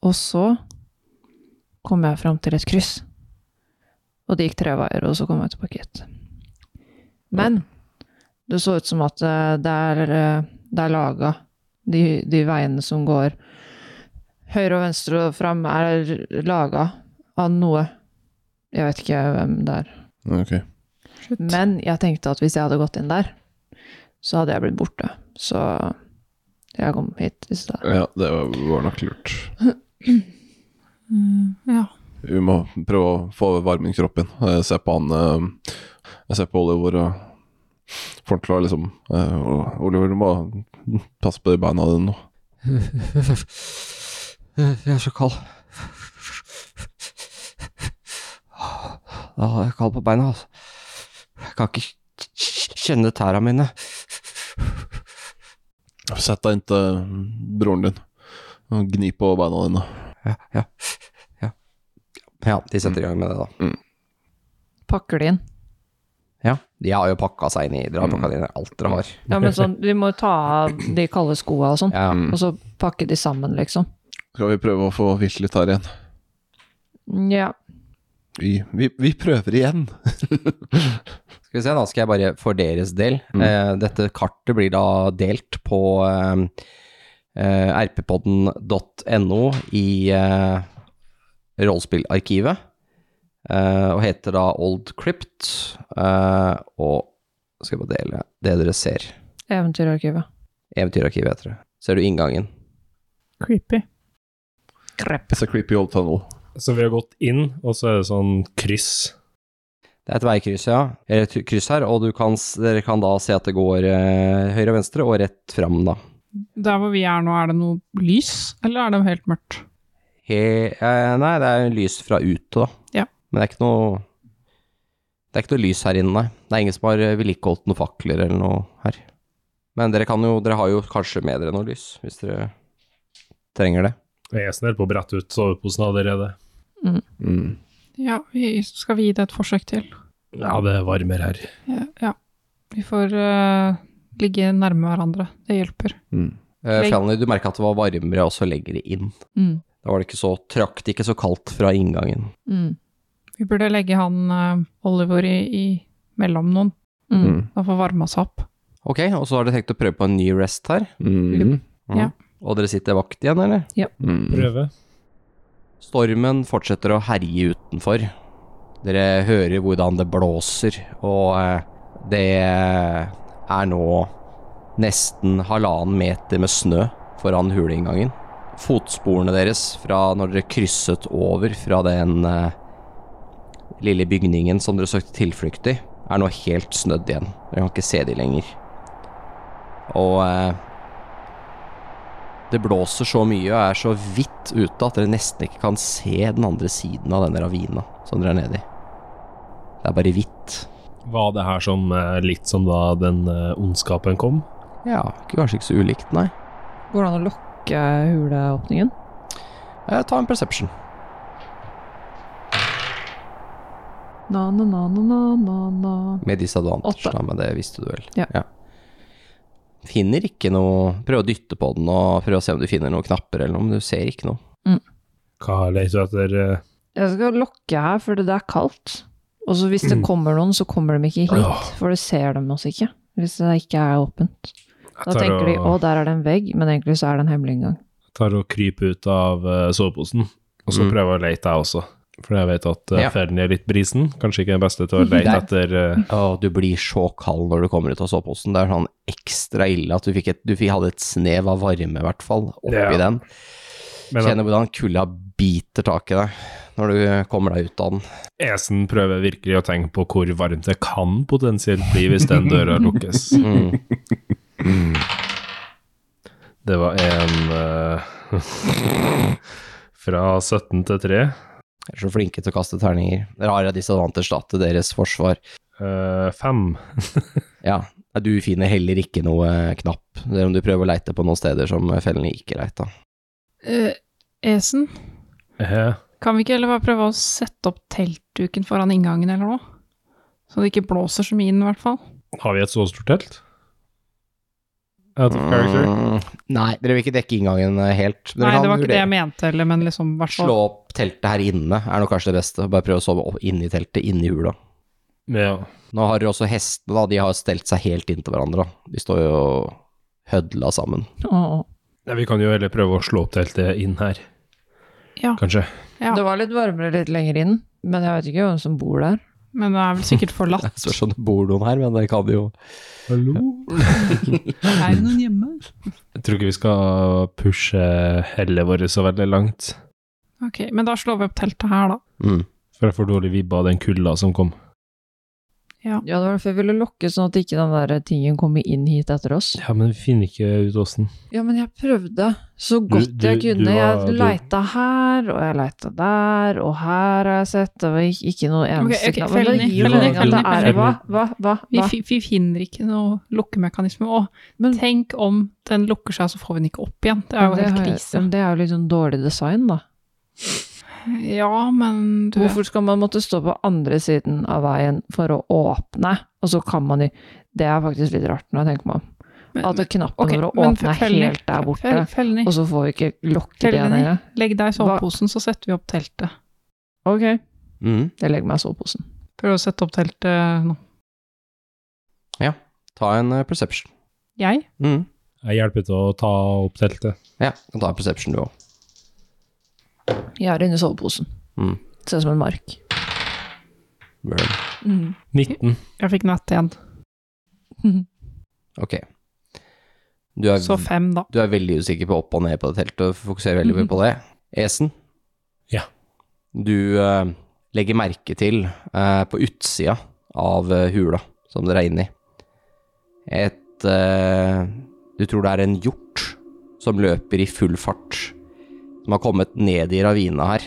Og så kom jeg fram til et kryss. Og det gikk tre veier, og så kom jeg tilbake hit. Men det så ut som at eh, det er, eh, det er laga de, de veiene som går høyre og venstre og fram, er laga av noe. Jeg vet ikke hvem det er.
Ok.
Slutt.
Men jeg tenkte at hvis jeg hadde gått inn der, så hadde jeg blitt borte. Så jeg kom hit i stedet.
Ja, det var var nok lurt.
Mm, ja.
Vi må prøve å få varmen i kroppen. Jeg ser på han eh, Jeg ser på Oliver og får han til å liksom eh, og Oliver, du må passe på de beina dine nå.
Eh, Jeg er så kald. Ja, jeg er kald på beina, altså. Jeg kan ikke kjenne tæra mine.
Sett deg inntil broren din og gni på beina dine.
Ja, ja, ja. Ja, de setter i gang med det, da.
Pakker de inn.
Ja, De har jo pakka seg inn i Dere har pakka inn i alt dere har.
Ja, men sånn, de må ta av de kalde skoa og sånn,
Ja,
og så pakke de sammen, liksom.
Skal vi prøve å få hvilt litt her igjen?
Ja.
Vi, vi, vi prøver igjen.
Skal vi se, da skal jeg bare for deres del. Eh, dette kartet blir da delt på eh, eh, rppodden.no i eh, rollespillarkivet. Eh, og heter da Old Crypt. Eh, og skal jeg bare dele det dere ser.
Eventyrarkivet.
Eventyrarkivet heter det. Ser du inngangen?
Creepy.
It's a creepy old tunnel.
Så vi har gått inn, og så er det sånn kryss.
Det er et veikryss, ja. Eller et kryss her, og du kan, s- dere kan da se at det går eh, høyre og venstre og rett fram, da.
Der hvor vi er nå, er det noe lys, eller er det helt mørkt?
He eh, nei, det er lys fra ute, da.
Ja.
Men det er ikke noe Det er ikke noe lys her inne, nei. Det er ingen som har eh, vedlikeholdt noen fakler eller noe her. Men dere kan jo Dere har jo kanskje med dere noe lys, hvis dere trenger det.
Jeg er snill på å brette ut soveposen allerede.
Mm.
Ja, vi skal vi gi det et forsøk til.
Ja, det er varmere her.
Ja. ja. Vi får eh, ligge nærme hverandre. Det hjelper.
Eh,
Legg-
Fjalny, du merka at det var varmere også lenger inn.
Mm.
Da var det ikke så trakt, ikke så kaldt fra inngangen.
Mm.
Vi burde legge han eh, Oliver i, i mellom noen.
Mm.
Mm.
Han får varma seg opp.
Ok, og så har dere tenkt å prøve på en ny rest her.
Mm.
Og dere sitter vakt igjen, eller?
Prøve.
Stormen fortsetter å herje utenfor. Dere hører hvordan det blåser, og eh, det er nå nesten halvannen meter med snø foran huleinngangen. Fotsporene deres fra når dere krysset over fra den eh, lille bygningen som dere søkte tilflukt i, er nå helt snødd igjen. Dere kan ikke se de lenger. Og eh, det blåser så mye og er så vidt ute at dere nesten ikke kan se den andre siden av denne ravina som dere er nede i. Det er bare hvitt.
Var det her som eh, litt som da den eh, ondskapen kom?
Ja, ikke- kanskje ikke så ulikt, nei.
Går det an å lukke huleåpningen?
Eh, ta en perception.
Na-na-na-na-na-na.
Med disadvantage,
Åtte.
da, men det visste du vel.
Ja.
Finner ikke noe Prøv å dytte på den og prøv å se om du finner noen knapper eller noe, men du ser ikke noe.
Hva leter du etter? eh?
Jeg skal lukke her, for det er kaldt. Og så hvis det kommer noen, så kommer de ikke hit,
Åh.
for det ser de oss ikke. Hvis det ikke er åpent.
Jeg
Da
tar
tenker de
og-
å, der er det en vegg, men egentlig så er det en hemmelig inngang.
tar og kryper ut av eh, soveposen, og så
Mm.
prøver jeg å lete, jeg også. For jeg vet at eh,
Ja.
ferden er litt brisen. Kanskje ikke den beste til å lete
Nei.
etter eh,
Å, du blir så kald når du kommer ut av soveposen. Det er sånn ekstra ille at du, fikk et, du fikk- hadde et snev av varme, i hvert fall, oppi
Ja.
den.
Men
Kjenner hvordan kulda biter tak i deg når du kommer deg ut av den.
Esen prøver virkelig å tenke på hvor varmt det kan potensielt bli hvis den døra lukkes.
Mm.
Mm.
Det var en eh, fra 17 til 3.
Dere er så flinke til å kaste terninger. Dere har en disadvantage da, til deres forsvar.
eh, Fem.
Ja, du finner heller ikke noe eh, knapp, selv om du prøver å leite på noen steder som fellene ikke leita.
Eh, Esen,
Eh,
kan vi ikke heller bare prøve å sette opp teltduken foran inngangen eller noe? Så det ikke blåser så mye inn, i hvert fall.
har vi et så stort telt? Out of character?
Mm. nei, dere vil ikke dekke inngangen eh, helt. Dere
Nei,
kan
det var ikke det
vurdere.
jeg mente, eller, men liksom, i hvert fall.
Slå opp teltet her inne er nok kanskje det beste. Bare prøve å sove opp inni teltet, inni hula.
Ja.
Nå har dere også hestene, da. De har stelt seg helt inntil hverandre. da. De står jo og hødla sammen.
Åh.
ja. Vi kan jo heller prøve å slå opp teltet inn her,
Ja,
kanskje.
Ja.
Det var litt varmere litt lenger inn, men jeg vet ikke hvem som bor der.
men det er vel sikkert forlatt.
Jeg spørs om det bor noen her, men det kan jo
Hallo?
Er det noen hjemme?
Jeg tror ikke vi skal pushe hellet vårt så veldig langt.
Ok, men da slår vi opp teltet her, da.
mm.
For jeg får dårlig vibbe av den kulda som kom.
Ja, det var derfor jeg ville lukke, sånn at ikke den der tingen kommer inn hit etter oss.
Ja, men vi finner ikke ut åssen.
Ja, men jeg prøvde så godt
du-
jeg
du
kunne.
var-
Jeg
du-
leita her, og jeg leita der, og her har jeg sett Det var ikke, ikke noe eneste
ok,
knapp.
fell
Men det
ned,
gir
fell
jo
ned,
mening at det er
fell ned.
Hva? Hva? Hva?
Vi,
hva?
fi- vi finner ikke noe lukkemekanisme. Å,
Men-
tenk om den lukker seg, så får vi den ikke opp igjen. Det er jo
Men det
helt
har jeg-
krise.
men Det er jo litt sånn dårlig design, da.
Ja, men du
Hvorfor skal man måtte stå på andre siden av veien for å åpne, og så kan man i Det er faktisk litt rart når jeg tenker meg om.
Men-
At knappen
Ok,
for å
men
åpne er
fell ned.
helt der borte,
Fell, fell ned.
og så får vi ikke lokket
Fell
igjen
ned.
engang.
Legg deg i soveposen, så setter vi opp teltet.
Ok,
Mm.
jeg legger meg i soveposen.
Prøv å sette opp teltet eh, nå.
Ta en eh, perception.
Jeg?
Mm.
Jeg hjelper til å ta opp teltet.
Ja, kan ta en perception du òg.
Jeg er inne i soveposen.
Mm.
Ser ut som en mark. Mm.
19.
Jeg fikk natt igjen.
Ok. Du er,
Så fem, da.
du er veldig usikker på opp og ned på det teltet, og fokuserer veldig mye på det. Esen?
Ja.
Du eh, legger merke til eh, på utsida av eh, hula som dere er inne i, et eh, Du tror det er en hjort som løper i full fart, som har kommet ned i ravina her.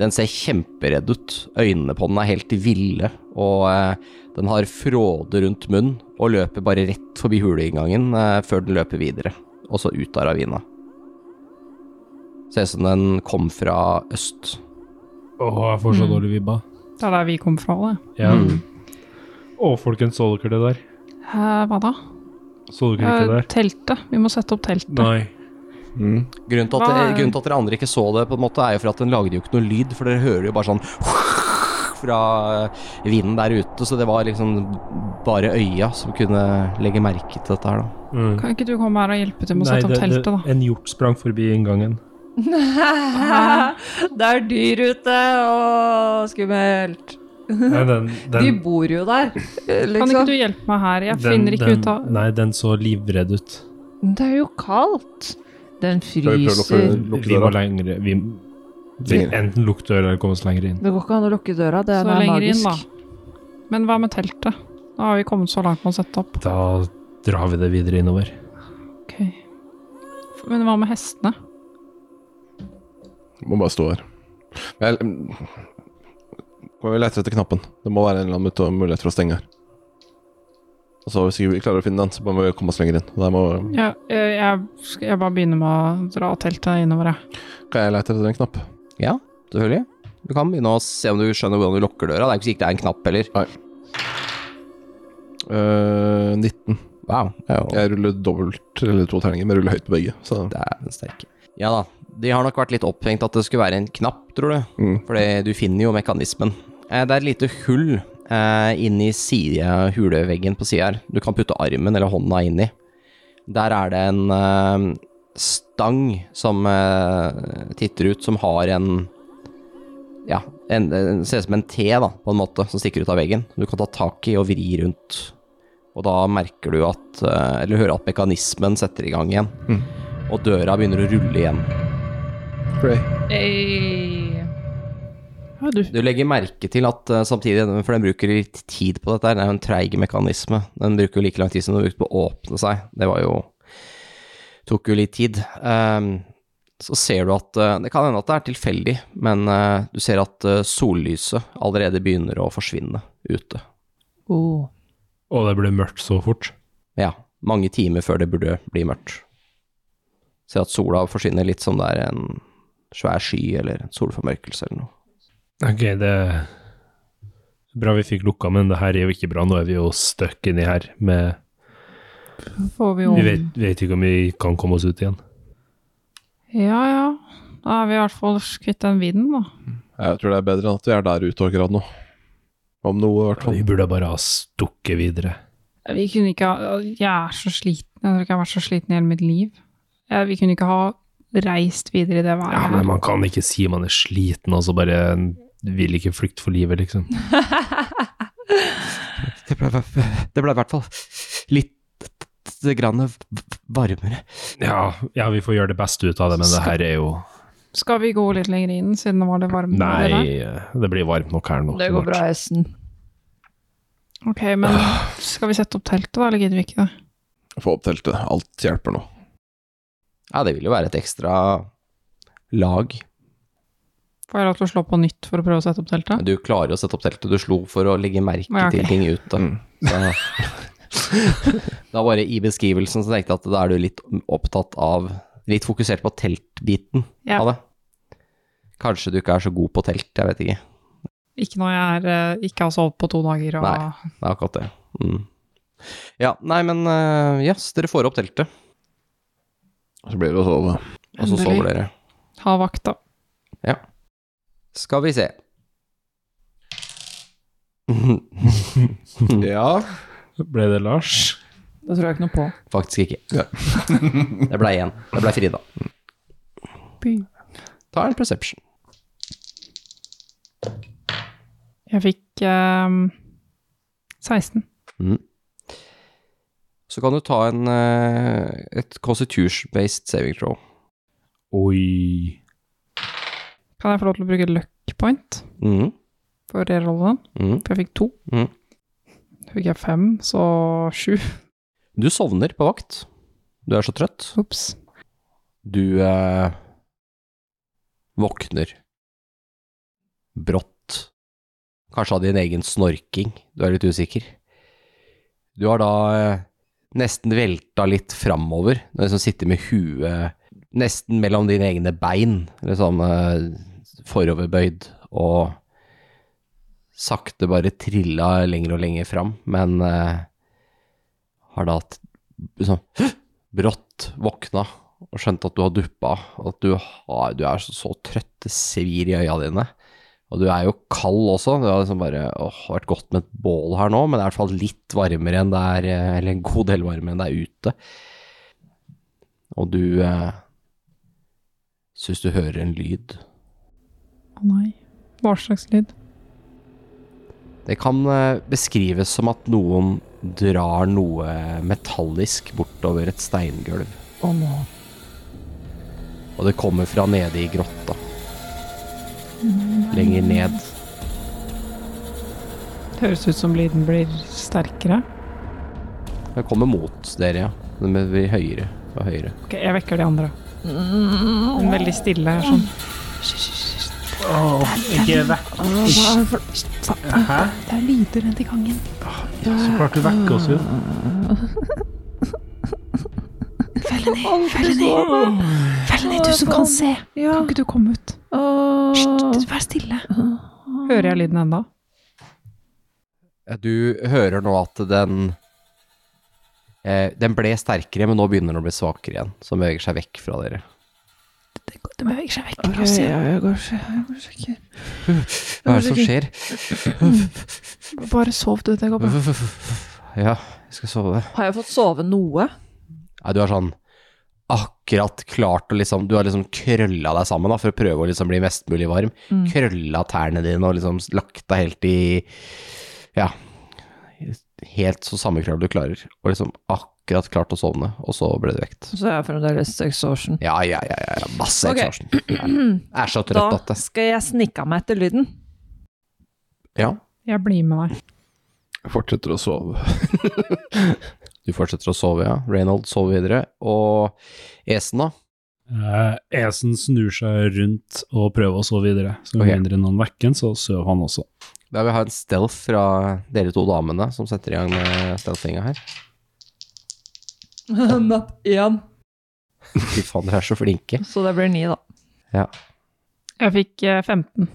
Den ser kjemperedd ut. Øynene på den er helt ville, og eh, den har fråde rundt munnen og løper bare rett forbi huleinngangen eh, før den løper videre, og så ut av ravina. Ser ut som den kom fra øst.
Åh, jeg får så
Mm.
dårlig vibbe.
Det er der vi kom fra, det.
Ja.
Mm.
Å, folkens, så dere det der?
Hæ, hva da?
Så dere ikke det
Eh,
der?
teltet. Vi må sette opp teltet.
Nei.
Mm.
Grunnen til,
Hva
at,
er-
grunnen til at dere andre ikke så det, på en måte, er jo for at den lagde jo ikke noe lyd, for dere hører jo bare sånn fra eh, vinden der ute, så det var liksom bare øya som kunne legge merke til dette her, da.
Mm.
Kan ikke du komme her og hjelpe til med å
Nei,
sette opp
det- det-
teltet, da?
En hjort sprang forbi inngangen.
det er dyr ute og skummelt.
Nei, den, den,
De bor jo der,
Kan ikke
Eh, liksom.
du hjelpe meg her? Jeg
den-
finner ikke
den-
ut av
Nei, den så livredd ut.
Det er jo kaldt. Den
Skal vi prøve å
fryser.
lukke- lukke
vi må
døra?
lengre vi, vi, Enten lukk døra eller komme oss lenger inn.
Det går ikke an å lukke døra, det
Så
er
lenger inn,
magisk.
da. Men hva med teltet? Nå har vi kommet så langt med å sette opp.
Da drar vi det videre innover.
Ok. Men hva med hestene?
Må bare stå her. Vel mm, Kan vi lete etter knappen? Det må være en eller annen mut- mulighet for å stenge her. Og så Hvis ikke vi klarer å finne den, så må vi komme oss lenger inn. Der må,
Ja, jeg, jeg, skal jeg bare begynne med å dra teltet innover, jeg.
kan jeg lete etter en knapp?
Ja, selvfølgelig. Du kan begynne å se om du skjønner hvordan du lukker døra. Det er ikke sikkert det er en knapp heller.
Eh, 19.
Wow. Det er jo
Jeg ruller dobbelt, eller to terninger, men jeg ruller høyt på begge. Så
Dæven steike. Ja da, de har nok vært litt opphengt at det skulle være en knapp, tror du.
Mm.
For du finner jo mekanismen. Eh, Det er et lite hull eh, inni side, huleveggen på sida her. Du kan putte armen eller hånda inni. Der er det en eh, stang som eh, titter ut, som har en Ja, en, en, ser ut som en T, da, på en måte, som stikker ut av veggen. Du kan ta tak i og vri rundt. Og da merker du at eh, Eller hører at mekanismen setter i gang igjen og døra begynner å rulle igjen.
Ja, du,
Du legger merke til at eh, samtidig, for den bruker litt tid på dette, her, det er jo en treig mekanisme. Den bruker jo like lang tid som den brukte på å åpne seg. Det var jo tok jo litt tid. Ehm, så ser du at eh, Det kan hende at det er tilfeldig, men eh, du ser at eh, sollyset allerede begynner å forsvinne ute.
Oh.
Og det ble mørkt så fort.
Ja, mange timer før det burde bli mørkt. Ser at sola forsvinner litt som det er en svær sky eller en solformørkelse eller noe.
Ok, det er Bra vi fikk lukka, men det her er jo ikke bra. Nå er vi jo stuck inni her med
får vi jo
Vi vet, vet ikke om vi kan komme oss ut igjen.
Ja, ja. Da er vi i hvert fall kvitt den vinden, da.
jeg tror det er bedre enn at vi er der ute akkurat nå. Om noe, i hvert fall.
Vi burde bare ha stukket videre.
Vi kunne ikke ha Jeg er så sliten. Jeg tror ikke jeg har vært så sliten i hele mitt liv. Eh, Vi kunne ikke ha reist videre i det været.
Ja, men man kan ikke si man er sliten, og så bare vil ikke flykte for livet, liksom.
Det ble, det ble i hvert fall litt grann varmere.
Ja, ja, vi får gjøre det beste ut av det, men det her er jo
Skal vi gå litt lenger inn, siden det var litt varmt? der?
Nei, det blir varmt nok her nå.
Det går bra, hesten.
Ok, men skal vi sette opp teltet, da, eller gidder vi ikke det?
Få opp teltet. Alt hjelper nå.
Ja, det vil jo være et ekstra lag.
Får jeg lov til å slå på nytt for å prøve å sette opp teltet?
Du klarer å sette opp teltet. Du slo for å legge merke
Ja, ok.
til ting ute. Så, da bare i beskrivelsen så tenkte jeg at da er du litt opptatt av Litt fokusert på teltbiten
Ja.
av det. Kanskje du ikke er så god på telt, jeg vet ikke.
Ikke når jeg er, eh, ikke har sovet på to dager og
Nei. Det er akkurat det. Mm. Ja, nei, men eh, yes, dere får opp teltet,
Så blir det å sove.
og så
Endelig.
sover dere.
har vakt, da.
Skal vi se.
Ja.
Ble det Lars?
Det tror jeg ikke noe på.
Faktisk ikke. det ble én. Det ble Frida. Ta en perception.
Jeg fikk eh, 16.
Så kan du ta en, eh, et constitution-based saving throw.
Oi.
Kan jeg få lov til å bruke luck point
Mhm,
for rerollen?
mhm.
For jeg fikk to.
Mhm.
Da fikk jeg fem, så sju.
Du sovner på vakt. Du er så trøtt.
Ops.
Du eh, våkner. Brått. Kanskje av din egen snorking. Du er litt usikker. Du har da eh, nesten velta litt framover. Du har liksom sittet med huet nesten mellom dine egne bein. Liksom eh, foroverbøyd og sakte bare trilla lenger og lenger fram. Men eh, har da t- liksom brått våkna og skjønt at du har duppa, at du, har, du er så, så trøtt, det svir i øya dine. Og du er jo kald også, det har liksom bare åh, det har vært godt med et bål her nå, men det er i hvert fall litt varmere enn det er, eh, eller en god del varmere enn det er ute. Og du eh, Syns du hører en lyd.
Å nei. Hva slags lyd?
Det kan eh, beskrives som at noen drar noe metallisk bortover et steingulv.
Å nå.
Og det kommer fra nede i grotta. Lenger ned.
Det høres ut som lyden blir sterkere.
Det kommer mot dere, ja. Det blir høyere og høyere.
Ok, jeg vekker de andre. Men veldig stille her sånn.
Ikke vekk Hæ?
Det er lyder nedi gangen.
Så klart du vekker oss jo.
Fell ned, Fell ned, du som kan se.
sånn. Ja.
Kan ikke du komme ut?
Åh.
Vær stille. Hører jeg lyden ennå?
Ja, Du hører nå at den eh, Den ble sterkere, men nå begynner den å bli svakere igjen. Som beveger seg vekk fra dere.
Det beveger seg vekk.
Ok, ja, jeg går og sjekker. Jeg går og sjekker.
Hva er det som skjer?
Bare sov, du. Det går bra.
Ja, jeg skal sove.
Har jeg fått sove noe?
Nei, du har sånn akkurat klart å liksom Du har liksom krølla deg sammen da, for å prøve å liksom bli mest mulig varm.
Mm.
Krølla tærne dine og liksom lagt deg helt i Ja. Helt så sammenkrølla du klarer. Og liksom akkurat klart å sovne, og så ble du vekt.
Så er jeg fremdeles exhaustion.
Ja, ja, ja. ja, ja. Masse
Ok.
exhaustion. Ja. Jeg er så trøtt at
Da
det
skal jeg snikke av meg etter lyden.
Ja.
Jeg blir med deg.
Jeg fortsetter å sove.
Du fortsetter å sove, ja. Reynold sover videre. Og Esen, da?
Eh, Esen snur seg rundt og prøver å sove videre. Så med
Ok.
mindre noen vekker han, så sover han også.
Da vil jeg ha en stealth fra dere to damene som setter i gang med stealthinga her.
Natt én.
Fy faen, dere er så flinke.
Så det blir ni, da.
Jeg fikk eh, 15.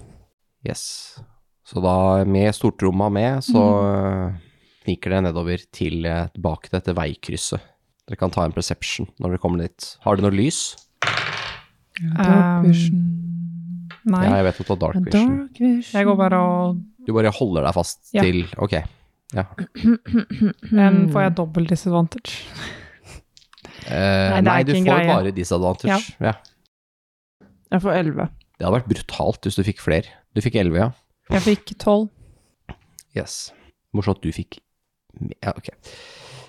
Yes. Så da, med stortromma med, så
Mm.
øh, sniker dere nedover til eh, tilbake til dette veikrysset. Dere kan ta en perception når dere kommer dit. Har dere noe lys?
Dark vision. Ehm, Nei.
Ja, jeg vet at du har dark vision.
Dark vision.
Jeg går bare og
Du bare holder deg fast
Ja.
til Ok. Eh,
Men får jeg dobbel disadvantage?
Eh,
Nei, det er
nei,
ikke
du
en
får
greie.
bare disadvantage. Ja.
Jeg får elleve.
Det hadde vært brutalt hvis du fikk flere. Du fikk elleve, ja.
Jeg fikk 12.
Yes. Morsomt at du fikk ja, ok.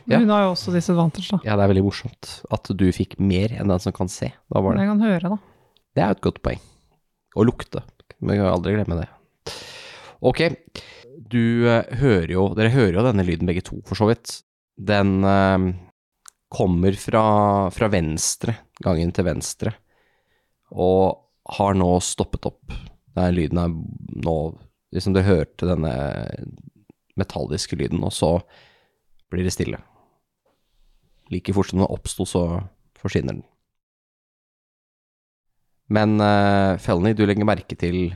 Ja.
Hun har jo også disadvantage, da.
Ja, det er veldig morsomt at du fikk mer enn den som kan se. Da var
Men
det.
jeg kan høre, da.
det er jo et godt poeng. Og lukte. Vi kan aldri glemme det. Ok, du eh, hører jo Dere hører jo denne lyden begge to, for så vidt. Den eh, kommer fra, fra venstre, gangen til venstre, og har nå stoppet opp. Den lyden er nå Liksom dere hørte denne metalliske lyden, og så blir det stille. Like fort som den oppsto, så forsvinner den. Men uh, Felny, du legger merke til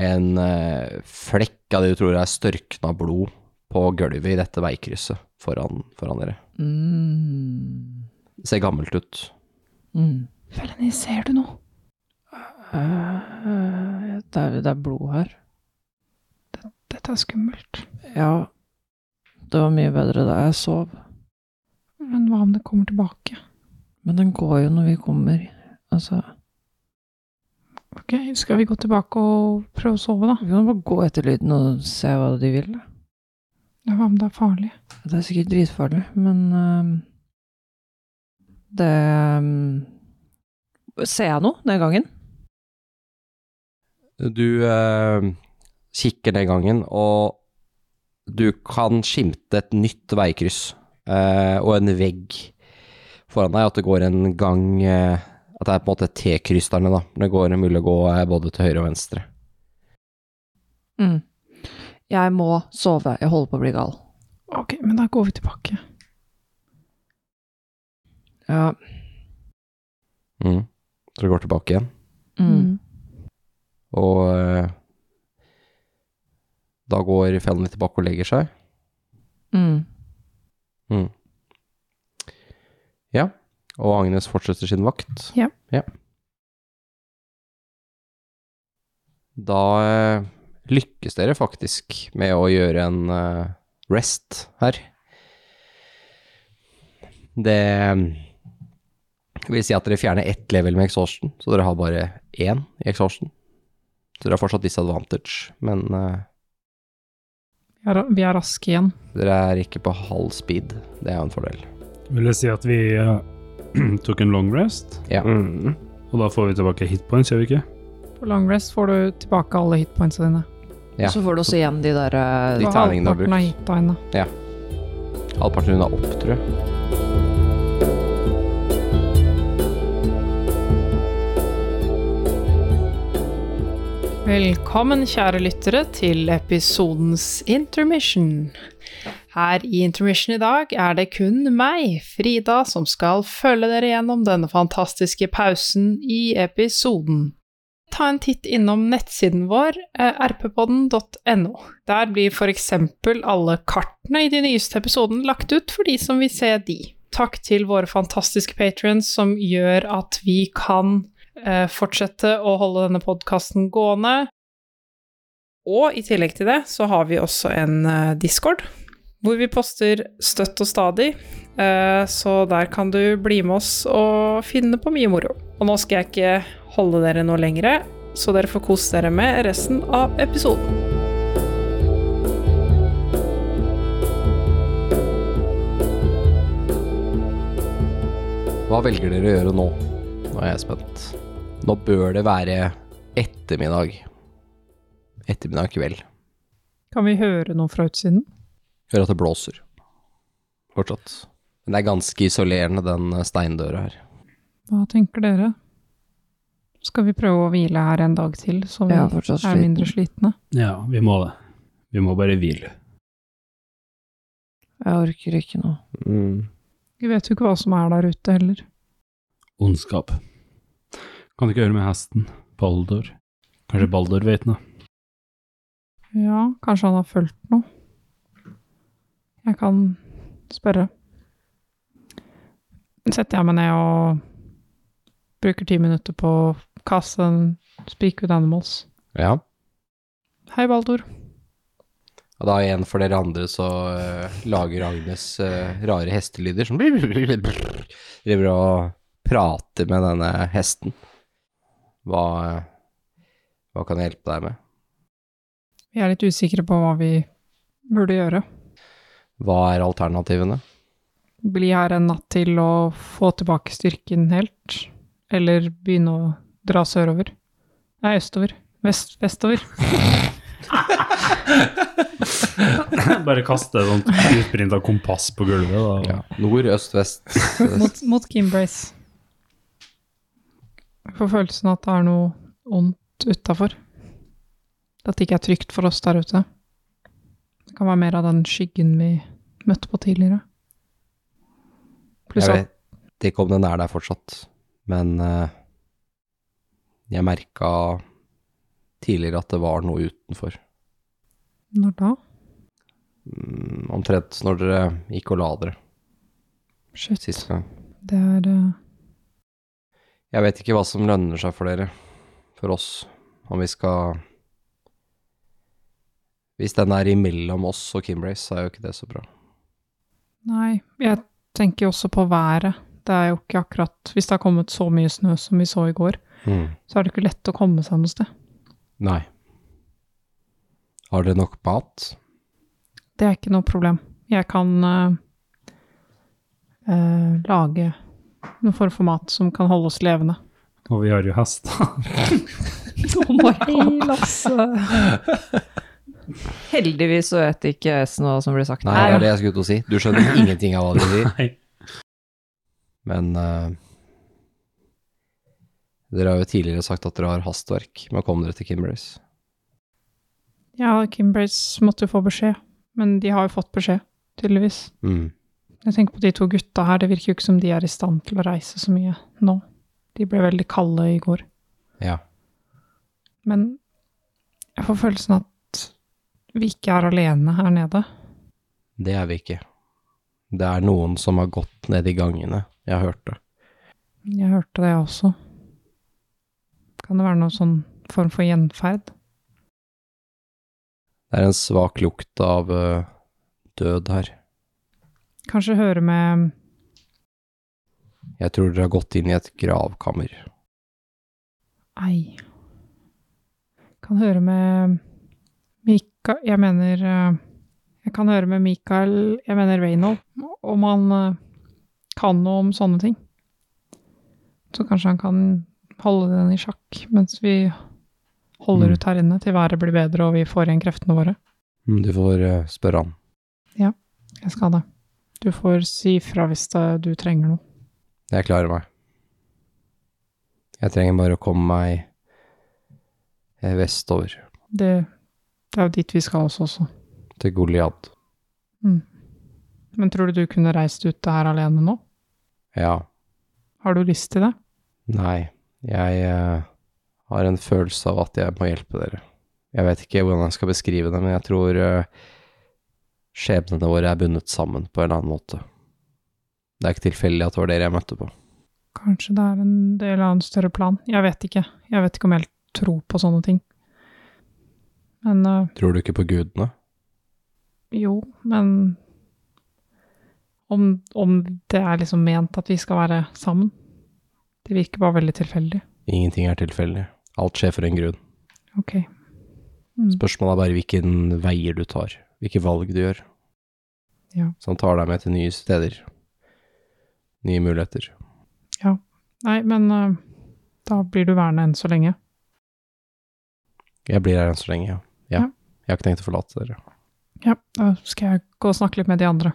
en eh, flekk av det du tror er størkna blod på gulvet i dette veikrysset foran, foran dere.
Mm.
Det ser gammelt ut.
Mm.
Felony, ser du noe?
Eh, det, er, det er blod her.
Dette er skummelt.
Ja. Det var mye bedre da jeg sov.
Men hva om det kommer tilbake?
Men den går jo når vi kommer. Altså,
Ok, skal vi gå tilbake og prøve å sove, da?
vi kan bare gå etter lyden og se hva de vil. da.
Ja, Hva om det er farlig?
Det er sikkert dritfarlig, men ehm, det ehm, Ser jeg noe den gangen?
Du eh, kikker den gangen, og du kan skimte et nytt veikryss eh, og en vegg foran deg. At det går en gang eh, At det er på en måte T-kryss der nede, da. Det går mulig å gå eh, både til høyre og venstre.
Mm. Jeg må sove. Jeg holder på å bli gal.
Ok, men da går vi tilbake.
Ja.
Mm. Så det går tilbake igjen.
Mm.
Og eh, da går fellen litt tilbake og legger seg.
Mm.
Ja. Og Agnes fortsetter sin vakt.
Ja.
Da eh, lykkes dere faktisk med å gjøre en eh, rest her. Det Det vil si at dere fjerner ett level med exhaustion, så dere har bare én i exhaustion. Så dere har fortsatt disadvantage, men eh,
Vi er, vi er raske igjen.
dere er ikke på halv speed. Det er jo en fordel.
Vil det si at vi eh, tok en long rest?
Ja.
Mm.
Og da får vi tilbake hitpoints, gjør vi ikke?
På long rest får du tilbake alle hitpointsa dine.
Ja.
Så får du også igjen de der eh,
De
Og
terningene du har
halvparten av
brukt.
hitta henne.
Halvparten unna opp, tror jeg.
Velkommen, kjære lyttere, til episodens intermission. Her i intermission i dag er det kun meg, Frida, som skal følge dere gjennom denne fantastiske pausen i episoden. Ta en titt innom nettsiden vår, eh, rppodden.no. Der blir for eksempel alle kartene i de nyeste episodene lagt ut for de som vil se de. Takk til våre fantastiske patrons som gjør at vi kan eh, fortsette å holde denne podkasten gående. Og i tillegg til det så har vi også en eh, Discord, hvor vi poster støtt og stadig. Eh, Så der kan du bli med oss og finne på mye moro. Og nå skal jeg ikke holde dere noe lengre, så dere får kose dere med resten av episoden.
Hva velger dere å gjøre nå? Nå er jeg spent. Nå bør det være ettermiddag. Ettermiddag kveld.
Kan vi høre noe fra utsiden?
Hører at det blåser. Fortsatt. Men det er ganske isolerende, den eh, steindøra her.
Hva tenker dere? Skal vi prøve å hvile her en dag til, så vi
Jeg er fortsatt
er mindre
sliten.
slitne?
Ja, vi må det. Vi må bare hvile.
Jeg orker ikke nå.
Mm.
Vi vet jo ikke hva som er der ute heller.
Ondskap. Kan ikke høre med hesten. Baldur. Kanskje Baldur vet noe.
Ja, kanskje han har fulgt noe. Jeg kan spørre. Setter jeg meg ned og bruker ti minutter på å kaste en Speak with Animals.
Ja.
Hei, Baldur.
Og da igjen for dere andre så eh, lager Agnes eh, rare hestelyder som Driver og prater med denne hesten. Hva, eh, hva kan jeg hjelpe deg med?
Vi er litt usikre på hva vi burde gjøre.
Hva er alternativene?
Bli her en natt til og få tilbake styrken helt. Eller begynne å dra sørover. Nei, østover. Vest, vestover.
Bare kaste et sånt utprinta kompass på gulvet, da.
Nord, øst, vest. øst.
Mot, mot Kimbrace. Jeg får følelsen at det er noe ondt utafor. At det ikke er trygt for oss der ute. Det kan være mer av den skyggen vi møtte på tidligere. Pluss
Jeg
at
vet ikke om den er der fortsatt, men eh, jeg merka tidligere at det var noe utenfor.
Når da?
Mm, Omtrent når dere gikk og la dere
Shit.
sist gang.
Det er eh,
Jeg vet ikke hva som lønner seg for dere, for oss, om vi skal Hvis den er imellom oss og Kimbrace, så er jo ikke det så bra.
Nei, jeg tenker jo også på været. Det er jo ikke akkurat Hvis det har kommet så mye snø som vi så i går,
Mm.
så er det ikke lett å komme seg noe sted.
Nei. Har dere nok mat?
Det er ikke noe problem. Jeg kan eh, eh, lage noe form for mat som kan holde oss levende.
Og vi har jo hest.
Hei, Lasse!
Heldigvis så vet ikke S noe som blir sagt.
Nei, det er det jeg skulle til å si. Du skjønner ingenting av hva de sier.
Nei.
Men eh, Dere har jo tidligere sagt at dere har hastverk med å komme dere til Kimbrace.
Ja, Kimbrace måtte jo få beskjed, men de har jo fått beskjed, tydeligvis.
Mm.
Jeg tenker på de to gutta her, det virker jo ikke som de er i stand til å reise så mye nå. De ble veldig kalde i går.
Ja.
Men jeg får følelsen at vi ikke er alene her nede.
Det er vi ikke. Det er noen som har gått ned i gangene. Jeg hørte.
Jeg hørte det også. Kan det være noen sånn form for gjenferd?
Det er en svak lukt av eh, død her.
Kanskje høre med
Jeg tror dere har gått inn i et gravkammer.
Ei. Kan høre med Mika... Jeg mener eh, Jeg kan høre med Mikael, jeg mener Reynold, om han eh, kan noe om sånne ting. Så kanskje han kan holde den i sjakk mens vi holder
Mm.
ut her inne til været blir bedre og vi får igjen kreftene våre.
Du får eh, spørre han.
Jeg skal det. Du får si fra hvis det, du trenger noe.
Jeg klarer meg. Jeg trenger bare å komme meg eh, vestover,
Det, det er jo dit vi skal også, også.
til Goliad.
Men tror du du kunne reist ut det her alene nå?
Ja,
Har du lyst til det?
nei, jeg eh, har en følelse av at jeg må hjelpe dere. Jeg vet ikke hvordan jeg skal beskrive det, men jeg tror eh, skjebnene våre er bundet sammen på en eller annen måte. Det er ikke tilfeldig at det var dere jeg møtte på.
Kanskje det er en del av en større plan. Jeg vet ikke. Jeg vet ikke om jeg helt tror på sånne ting. Men øh,
Tror du ikke på gudene?
jo, men om, om det er liksom ment at vi skal være sammen? Det virker bare veldig tilfeldig.
Ingenting er tilfeldig. Alt skjer for en grunn.
Ok. Mm.
Spørsmålet er bare hvilken veier du tar, hvilke valg du gjør.
Ja.
Som tar deg med til nye steder. Nye muligheter.
Nei, men øh, da blir du værende enn så lenge.
Jeg blir her enn så lenge, ja. ja.
Ja.
Jeg har ikke tenkt å forlate dere.
Ja, da skal jeg gå og snakke litt med de andre.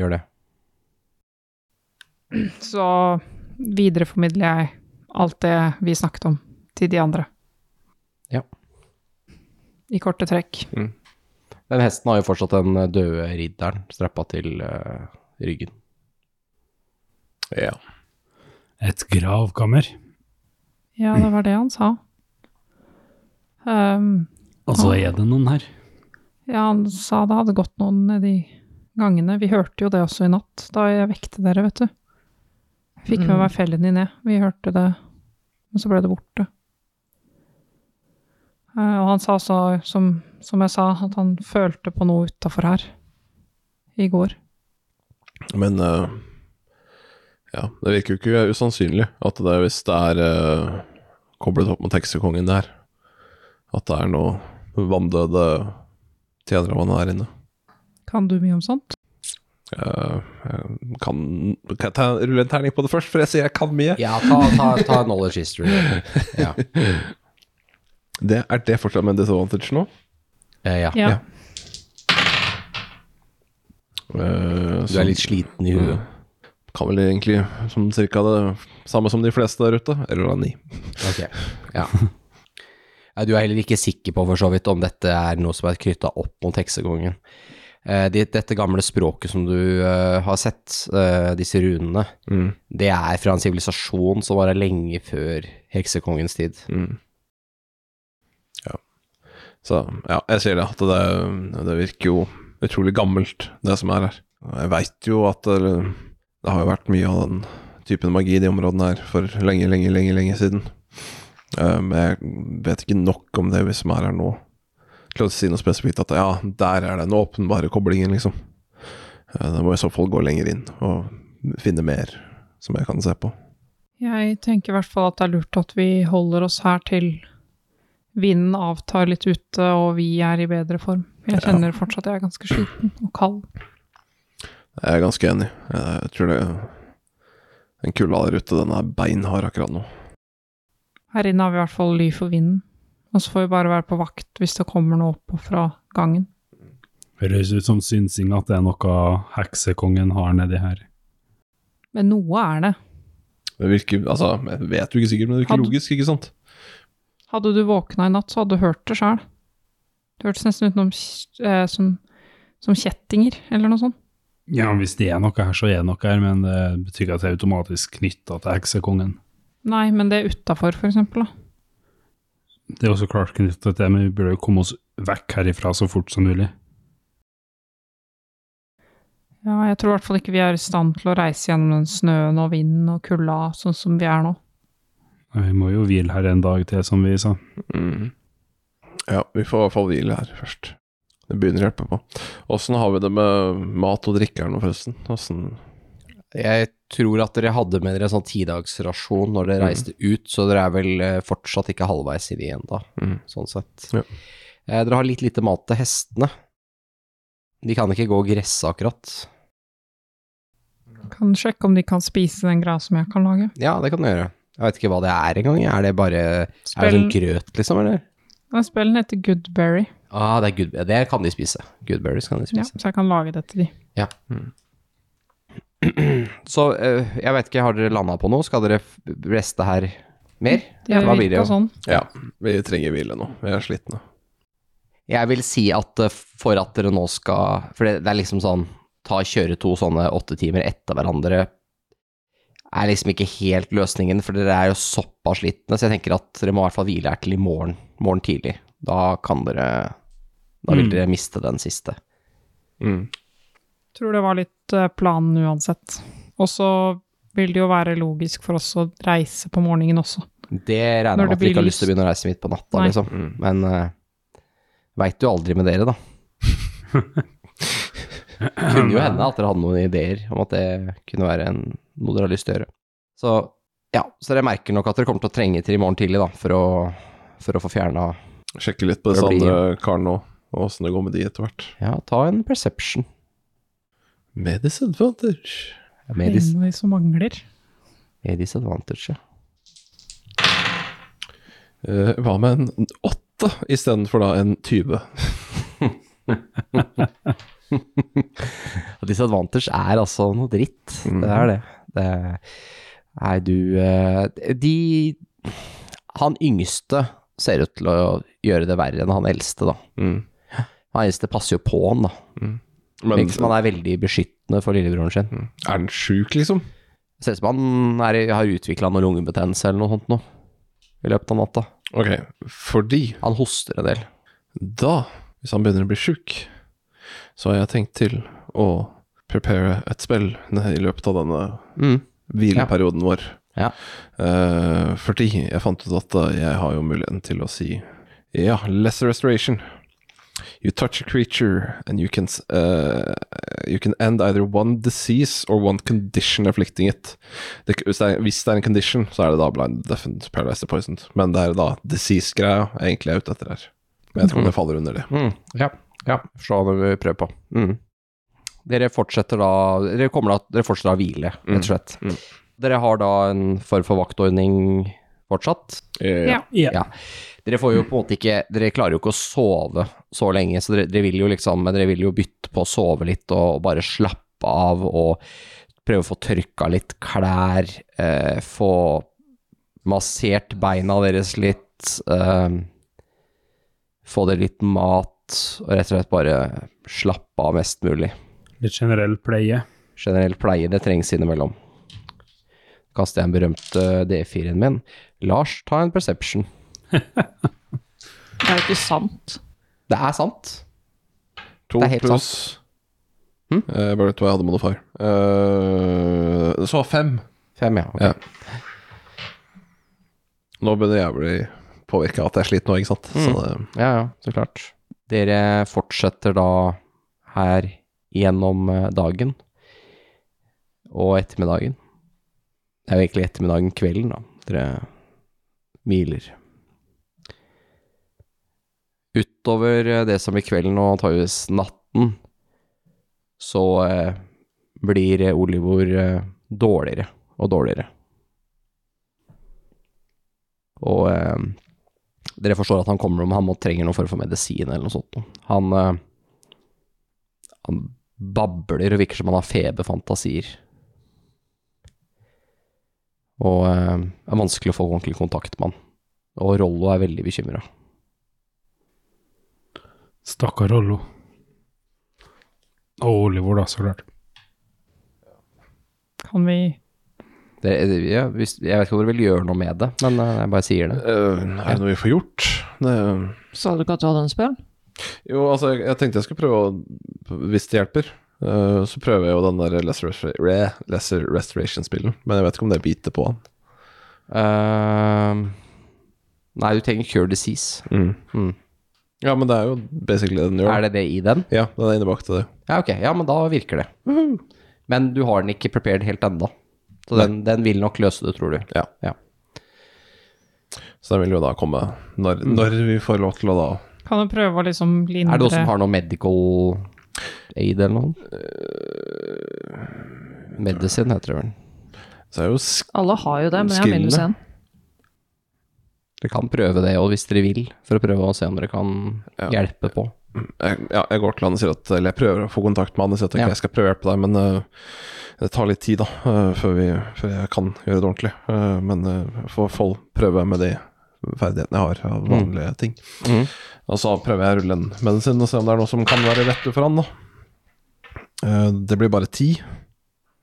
Gjør det.
Så videreformidler jeg alt det vi snakket om, til de andre.
Ja.
I korte trekk.
Den hesten har jo fortsatt den eh, døde ridderen strappa til eh, ryggen.
Ja.
Et gravkammer.
Ja, det var det han sa. Ehm,
Altså,
Ah.
er det noen her?
ja, han sa det hadde gått noen nedi gangene. Vi hørte jo det også i natt, da jeg vekte dere, vet du. Jeg fikk med
Mm.
meg fellen din ned. Vi hørte det, men så ble det borte. Eh, og han sa så, som, som jeg sa, at han følte på noe utafor her i går.
Men eh, ja, det virker jo ikke usannsynlig at det er hvis det er eh, koblet opp mot heksekongen der, at det er noe vanndøde tjenere av han her inne.
Kan du mye om sånt?
Eh, jeg kan, kan jeg ta, rulle en terning på det først, for jeg sier jeg kan mye?
Ja, ta, ta, ta knowledge history. Ja.
Det er det fortsatt med disadvantage nå.
Eh, ja.
Ja. Eh,
Du er litt sliten i huet.
Kan vel egentlig som cirka det samme som de fleste der ute. Eller da ni.
Ok, ja. Ja, Du er heller ikke sikker på for så vidt om dette er noe som er knytta opp mot heksekongen. Eh, det- Dette gamle språket som du eh, har sett, eh, disse runene,
Mm.
det er fra en sivilisasjon som var her lenge før heksekongens tid.
Mm. Ja. Så ja, jeg sier det, at det, det virker jo utrolig gammelt, det som er her. Og Jeg veit jo at det, det har jo vært mye av den typen magi i de områdene her for lenge, lenge, lenge, lenge siden. Eh, Men jeg vet ikke nok om det vi som er her nå, til å si noe spesifikt at ja, der er den åpenbare koblingen, liksom. Eh, Da må jeg i så fall gå lenger inn og finne mer som jeg kan se på.
Jeg tenker i hvert fall at det er lurt at vi holder oss her til vinden avtar litt ute og vi er i bedre form. Jeg kjenner fortsatt at jeg er ganske sliten og kald.
Jeg er ganske enig. Jeg tror det Den kulda der ute, den er beinhard akkurat nå.
Her inne har vi i hvert fall ly for vinden. Og så får vi bare være på vakt hvis det kommer noe opp fra gangen.
Høres ut som synsing at det er noe heksekongen har nedi her.
Men noe er det.
Det virker Altså, jeg vet jo ikke sikkert, men det virker
Hadde-
logisk, ikke sant?
Hadde du våkna i natt, så hadde du hørt det sjøl. Det hørtes nesten ut som, eh, som, som kjettinger eller noe sånt.
Ja, hvis det er noe her, så er det noe her, men det betyr ikke at det er automatisk knytta til heksekongen.
Nei, men det utafor, for eksempel. Da.
Det er også klart knytta til det, men vi burde jo komme oss vekk herifra så fort som mulig.
Ja, jeg tror i hvert fall ikke vi er i stand til å reise gjennom den snøen og vinden og kulda sånn som vi er nå.
Vi må jo hvile her en dag til, som vi sa.
Mm. Ja, vi får i hvert fall hvile her først. Det begynner å hjelpe på. Åssen har vi det med mat og drikke her nå, forresten? Åssen
Jeg tror at dere hadde med dere en sånn tidagsrasjon når
Mm.
dere reiste ut, så dere er vel eh, fortsatt ikke halvveis i de ennå,
Mm.
sånn sett.
Ja.
Eh, Dere har litt lite mat til hestene. De kan ikke gå og gresse akkurat.
Kan sjekke om de kan spise den grasen jeg kan lage.
Ja, det kan du gjøre. Jeg vet ikke hva det er engang. Er det bare Er det
Spill-
sånn grøt, liksom, eller?
Ja, Spillen heter Goodberry,
Ah, det, er good, det kan de spise. Goodberries kan de
ja,
spise.
så jeg kan lage det til de.
Så eh, jeg vet ikke, har dere landa på noe? Skal dere f- reste her mer?
Det
Hva blir det, jo?
virka sånn.
Ja, vi trenger hvile nå. Vi er slitne.
Jeg vil si at eh, for at dere nå skal For det, det er liksom sånn Ta kjøre to sånne åtte timer etter hverandre er liksom ikke helt løsningen, for dere er jo såpass slitne, så jeg tenker at dere må i hvert fall hvile her til i morgen, morgen tidlig. Da kan dere Da vil
Mm.
dere miste den siste.
Mm,
Tror det var litt eh, planen uansett. Og så vil det jo være logisk for oss å reise på morgenen også.
Det regner
Når
jeg med
det
at vi ikke har
blir
lyst til å begynne å reise midt på natta,
Nei.
liksom.
mm.
Men uh, veit jo aldri med dere, da. kunne jo hende at dere hadde noen ideer om at det kunne være en, noe dere har lyst til å gjøre. Så ja, så dere merker nok at dere kommer til å trenge til i morgen tidlig, da, for å, for å få fjerna
Sjekke litt på disse
Det blir-
andre karene òg, og åssen det går med de etter hvert.
Ja, ta en perception.
Med disadvantage.
Med dis-
Ingen av de som mangler.
med disadvantage, ja.
Eh, hva med en åtte istedenfor da en 20?
Og disadvantage er altså noe dritt. Det er det. det nei, du eh, De Han yngste ser ut til å gjøre det verre enn han eldste, da.
Mm.
Han eldste passer jo på han, da.
Men
Virker som han er veldig beskyttende for lillebroren sin.
er den sjuk, liksom?
Ser ut som han er, har utvikla noe lungebetennelse eller noe sånt nå i løpet av natta.
Ok, fordi
Han hoster en del.
da, hvis han begynner å bli sjuk, så har jeg tenkt til å prepare et spill i løpet av denne
Mm.
hvileperioden vår.
Ja.
Eh, fordi jeg fant ut at eh, jeg har jo muligheten til å si Ja, lesser restoration. You touch a creature and you can, s- eh, you can end either one disease or one condition afflicting it. Det, hvis, det er, hvis det er en condition, så er det da blind deafened, paralyzed or poisoned. Men det er da disease-greia jeg egentlig er ute etter her. Men jeg tror det faller under det.
Mm, ja, ja. Forstå hva vi prøver på. Mm. Dere fortsetter da Dere kommer da Dere fortsetter da å hvile, rett og slett.
Mm.
Dere har da en form for vaktordning fortsatt.
Eh,
Ja.
Dere får jo på en måte ikke Dere klarer jo ikke å sove så lenge, så dere, dere vil jo liksom Men dere vil jo bytte på å sove litt og bare slappe av og prøve å få tørka litt klær, eh, få massert beina deres litt, eh, få dere litt mat, og rett og slett bare slappe av mest mulig
Litt generell pleie.
generell pleie, det trengs innimellom. Kaster jeg en berømt eh, D4-en min. Lars, ta en perception.
Det er jo ikke sant.
Det er sant.
To
Det er helt
pluss
Hm?
Eh, Bare to jeg hadde modifier. Eh, så fem.
Fem, ja. ok.
Ja. Nå begynner jeg å bli påvirka av at jeg er sliten nå, ikke sant. Så det,
ja, ja, så klart. Dere fortsetter da her gjennom eh, dagen og ettermiddagen. Det er jo egentlig ettermiddagen kvelden, da. Dere hviler. Utover eh, det som blir kvelden og antageligvis natten, så eh, blir eh, Olivor eh, dårligere og dårligere. Og eh, dere forstår at han kommer om han må trenger noen form for medisin eller noe sånt. noe. Han, eh, han babler og virker som han har feberfantasier. Og eh, er vanskelig å få ordentlig kontakt med han. Og Rollo er veldig bekymra.
Stakkar Rollo. Og Oliver, da, så klart.
Kan vi
Ja, hvis- jeg vet ikke om dere vil gjøre noe med det, men eh, jeg bare sier det.
Eh, er det noe vi får gjort? Det,
Sa du ikke at du hadde en spill?
jo, altså, jeg, jeg tenkte jeg skulle prøve å Hvis det hjelper, eh, så prøver jeg jo den der Lesser, Restora- Re- lesser Restoration-spillen. Men jeg vet ikke om det biter på han.
Eh, nei, du trenger cure disease. Mm.
Ja, men det er jo basically det den gjør.
Er det det i den?
Ja, den er innebakt til det.
Ja, ok. Ja, men da virker det. Men du har den ikke prepared helt ennå. Så den, den vil nok løse det, tror du.
Så den vil jo da komme når,
Mm.
når vi får lov til å da
Kan jo prøve å liksom lindre
Er det noen som har noe medical aid eller noe? Medisin heter det vel.
Så er det jo sk
Alle har jo det, men jeg har minus én.
Skillene.
Dere kan prøve det, og hvis dere vil, for å prøve å se om dere kan
Ja.
hjelpe på.
jeg, ja, jeg går til han og sier at Eller jeg prøver å få kontakt med han og sier at ok,
Ja.
jeg skal prøve å hjelpe deg, men øh, det tar litt tid, da, øh, før, vi, før jeg kan gjøre det ordentlig. Øh, men øh, jeg får får prøve med de ferdighetene jeg har
Mm.
av vanlige ting.
Mhm.
Og så prøver jeg å rulle en medisin og se om det er noe som kan være rette for han, da. Eh, det blir bare ti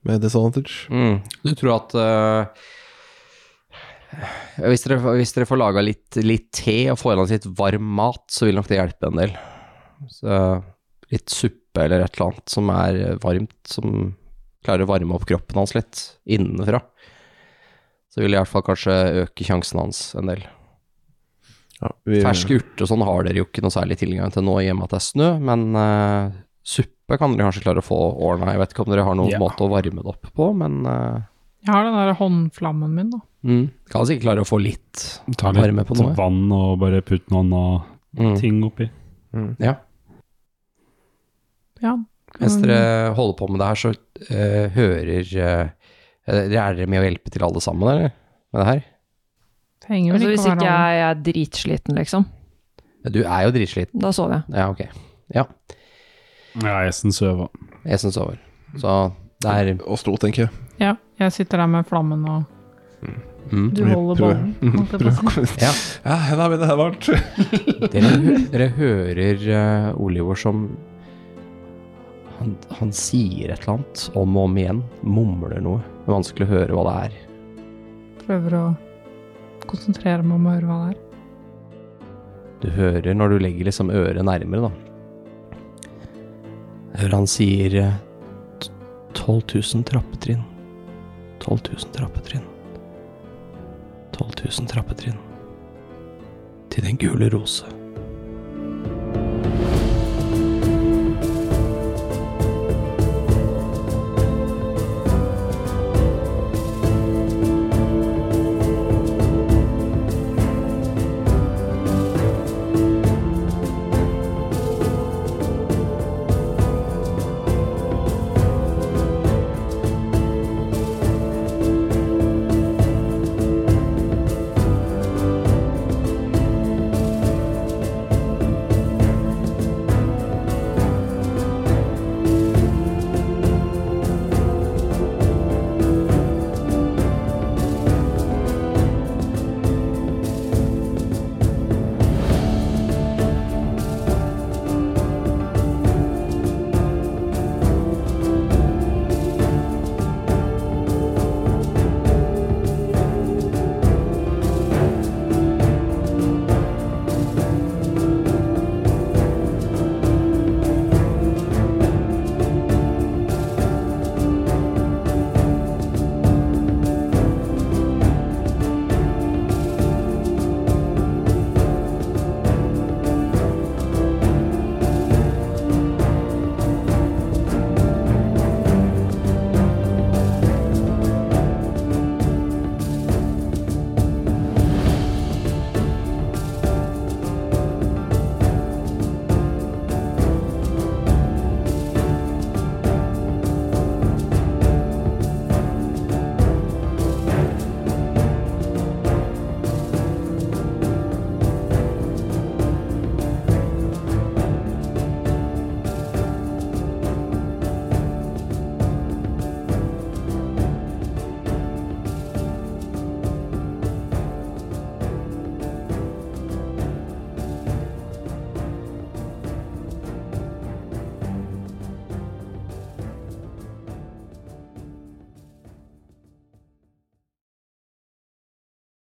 med disadvantage.
Mm. Du tror at eh, hvis, dere, hvis dere får laga litt, litt te og får i land litt varm mat, så vil nok det hjelpe en del. Så, litt suppe eller et eller annet som er varmt, som klarer å varme opp kroppen hans litt innenfra. Så vil det i hvert fall kanskje øke sjansen hans en del.
Ja, vi,
Ferske urter og sånn har dere jo ikke noe særlig tilgang til nå i og med at det er snø, men eh, suppe kan dere kanskje klare å få ordna. Jeg vet ikke om dere har noen
Ja.
måte å varme det opp på, men eh,
Jeg har den der håndflammen min, da.
Mm. Kan sikkert klare å få litt
Ta litt
varme på noe.
vann og bare putte noen av
Mm.
ting oppi.
Ja.
Mens
kan-
dere holder på med det her, så eh, hører eh, Dere er dere med å hjelpe til alle sammen, eller? Med det her?
trenger vel
Altså,
ikke
hvis
å
ikke
være hånd.
jeg er dritsliten, liksom.
Du er jo dritsliten.
Da sover jeg.
Ja, ok.
Ja, Esen søva.
Jeg syns over. Så det er
og sto, tenker jeg.
Ja, jeg sitter der med flammen og
mm.
Du
Vi
holder
prøver.
ballen.
Mhm,
holdt jeg på å
prøver
si.
å komme ut.
Ja.
Ja, nei, men det er varmt.
dere, hø- dere hører eh, Oliver som han, han sier et eller annet om og om igjen. Mumler noe. Det er vanskelig å høre hva det er.
Prøver å konsentrere meg om å høre hva det er.
Du hører når du legger liksom øret nærmere, da. Hører han sier eh, t- 12 000 trappetrinn. 12 000 trappetrinn. 12 000 trappetrinn. Til den gule rose.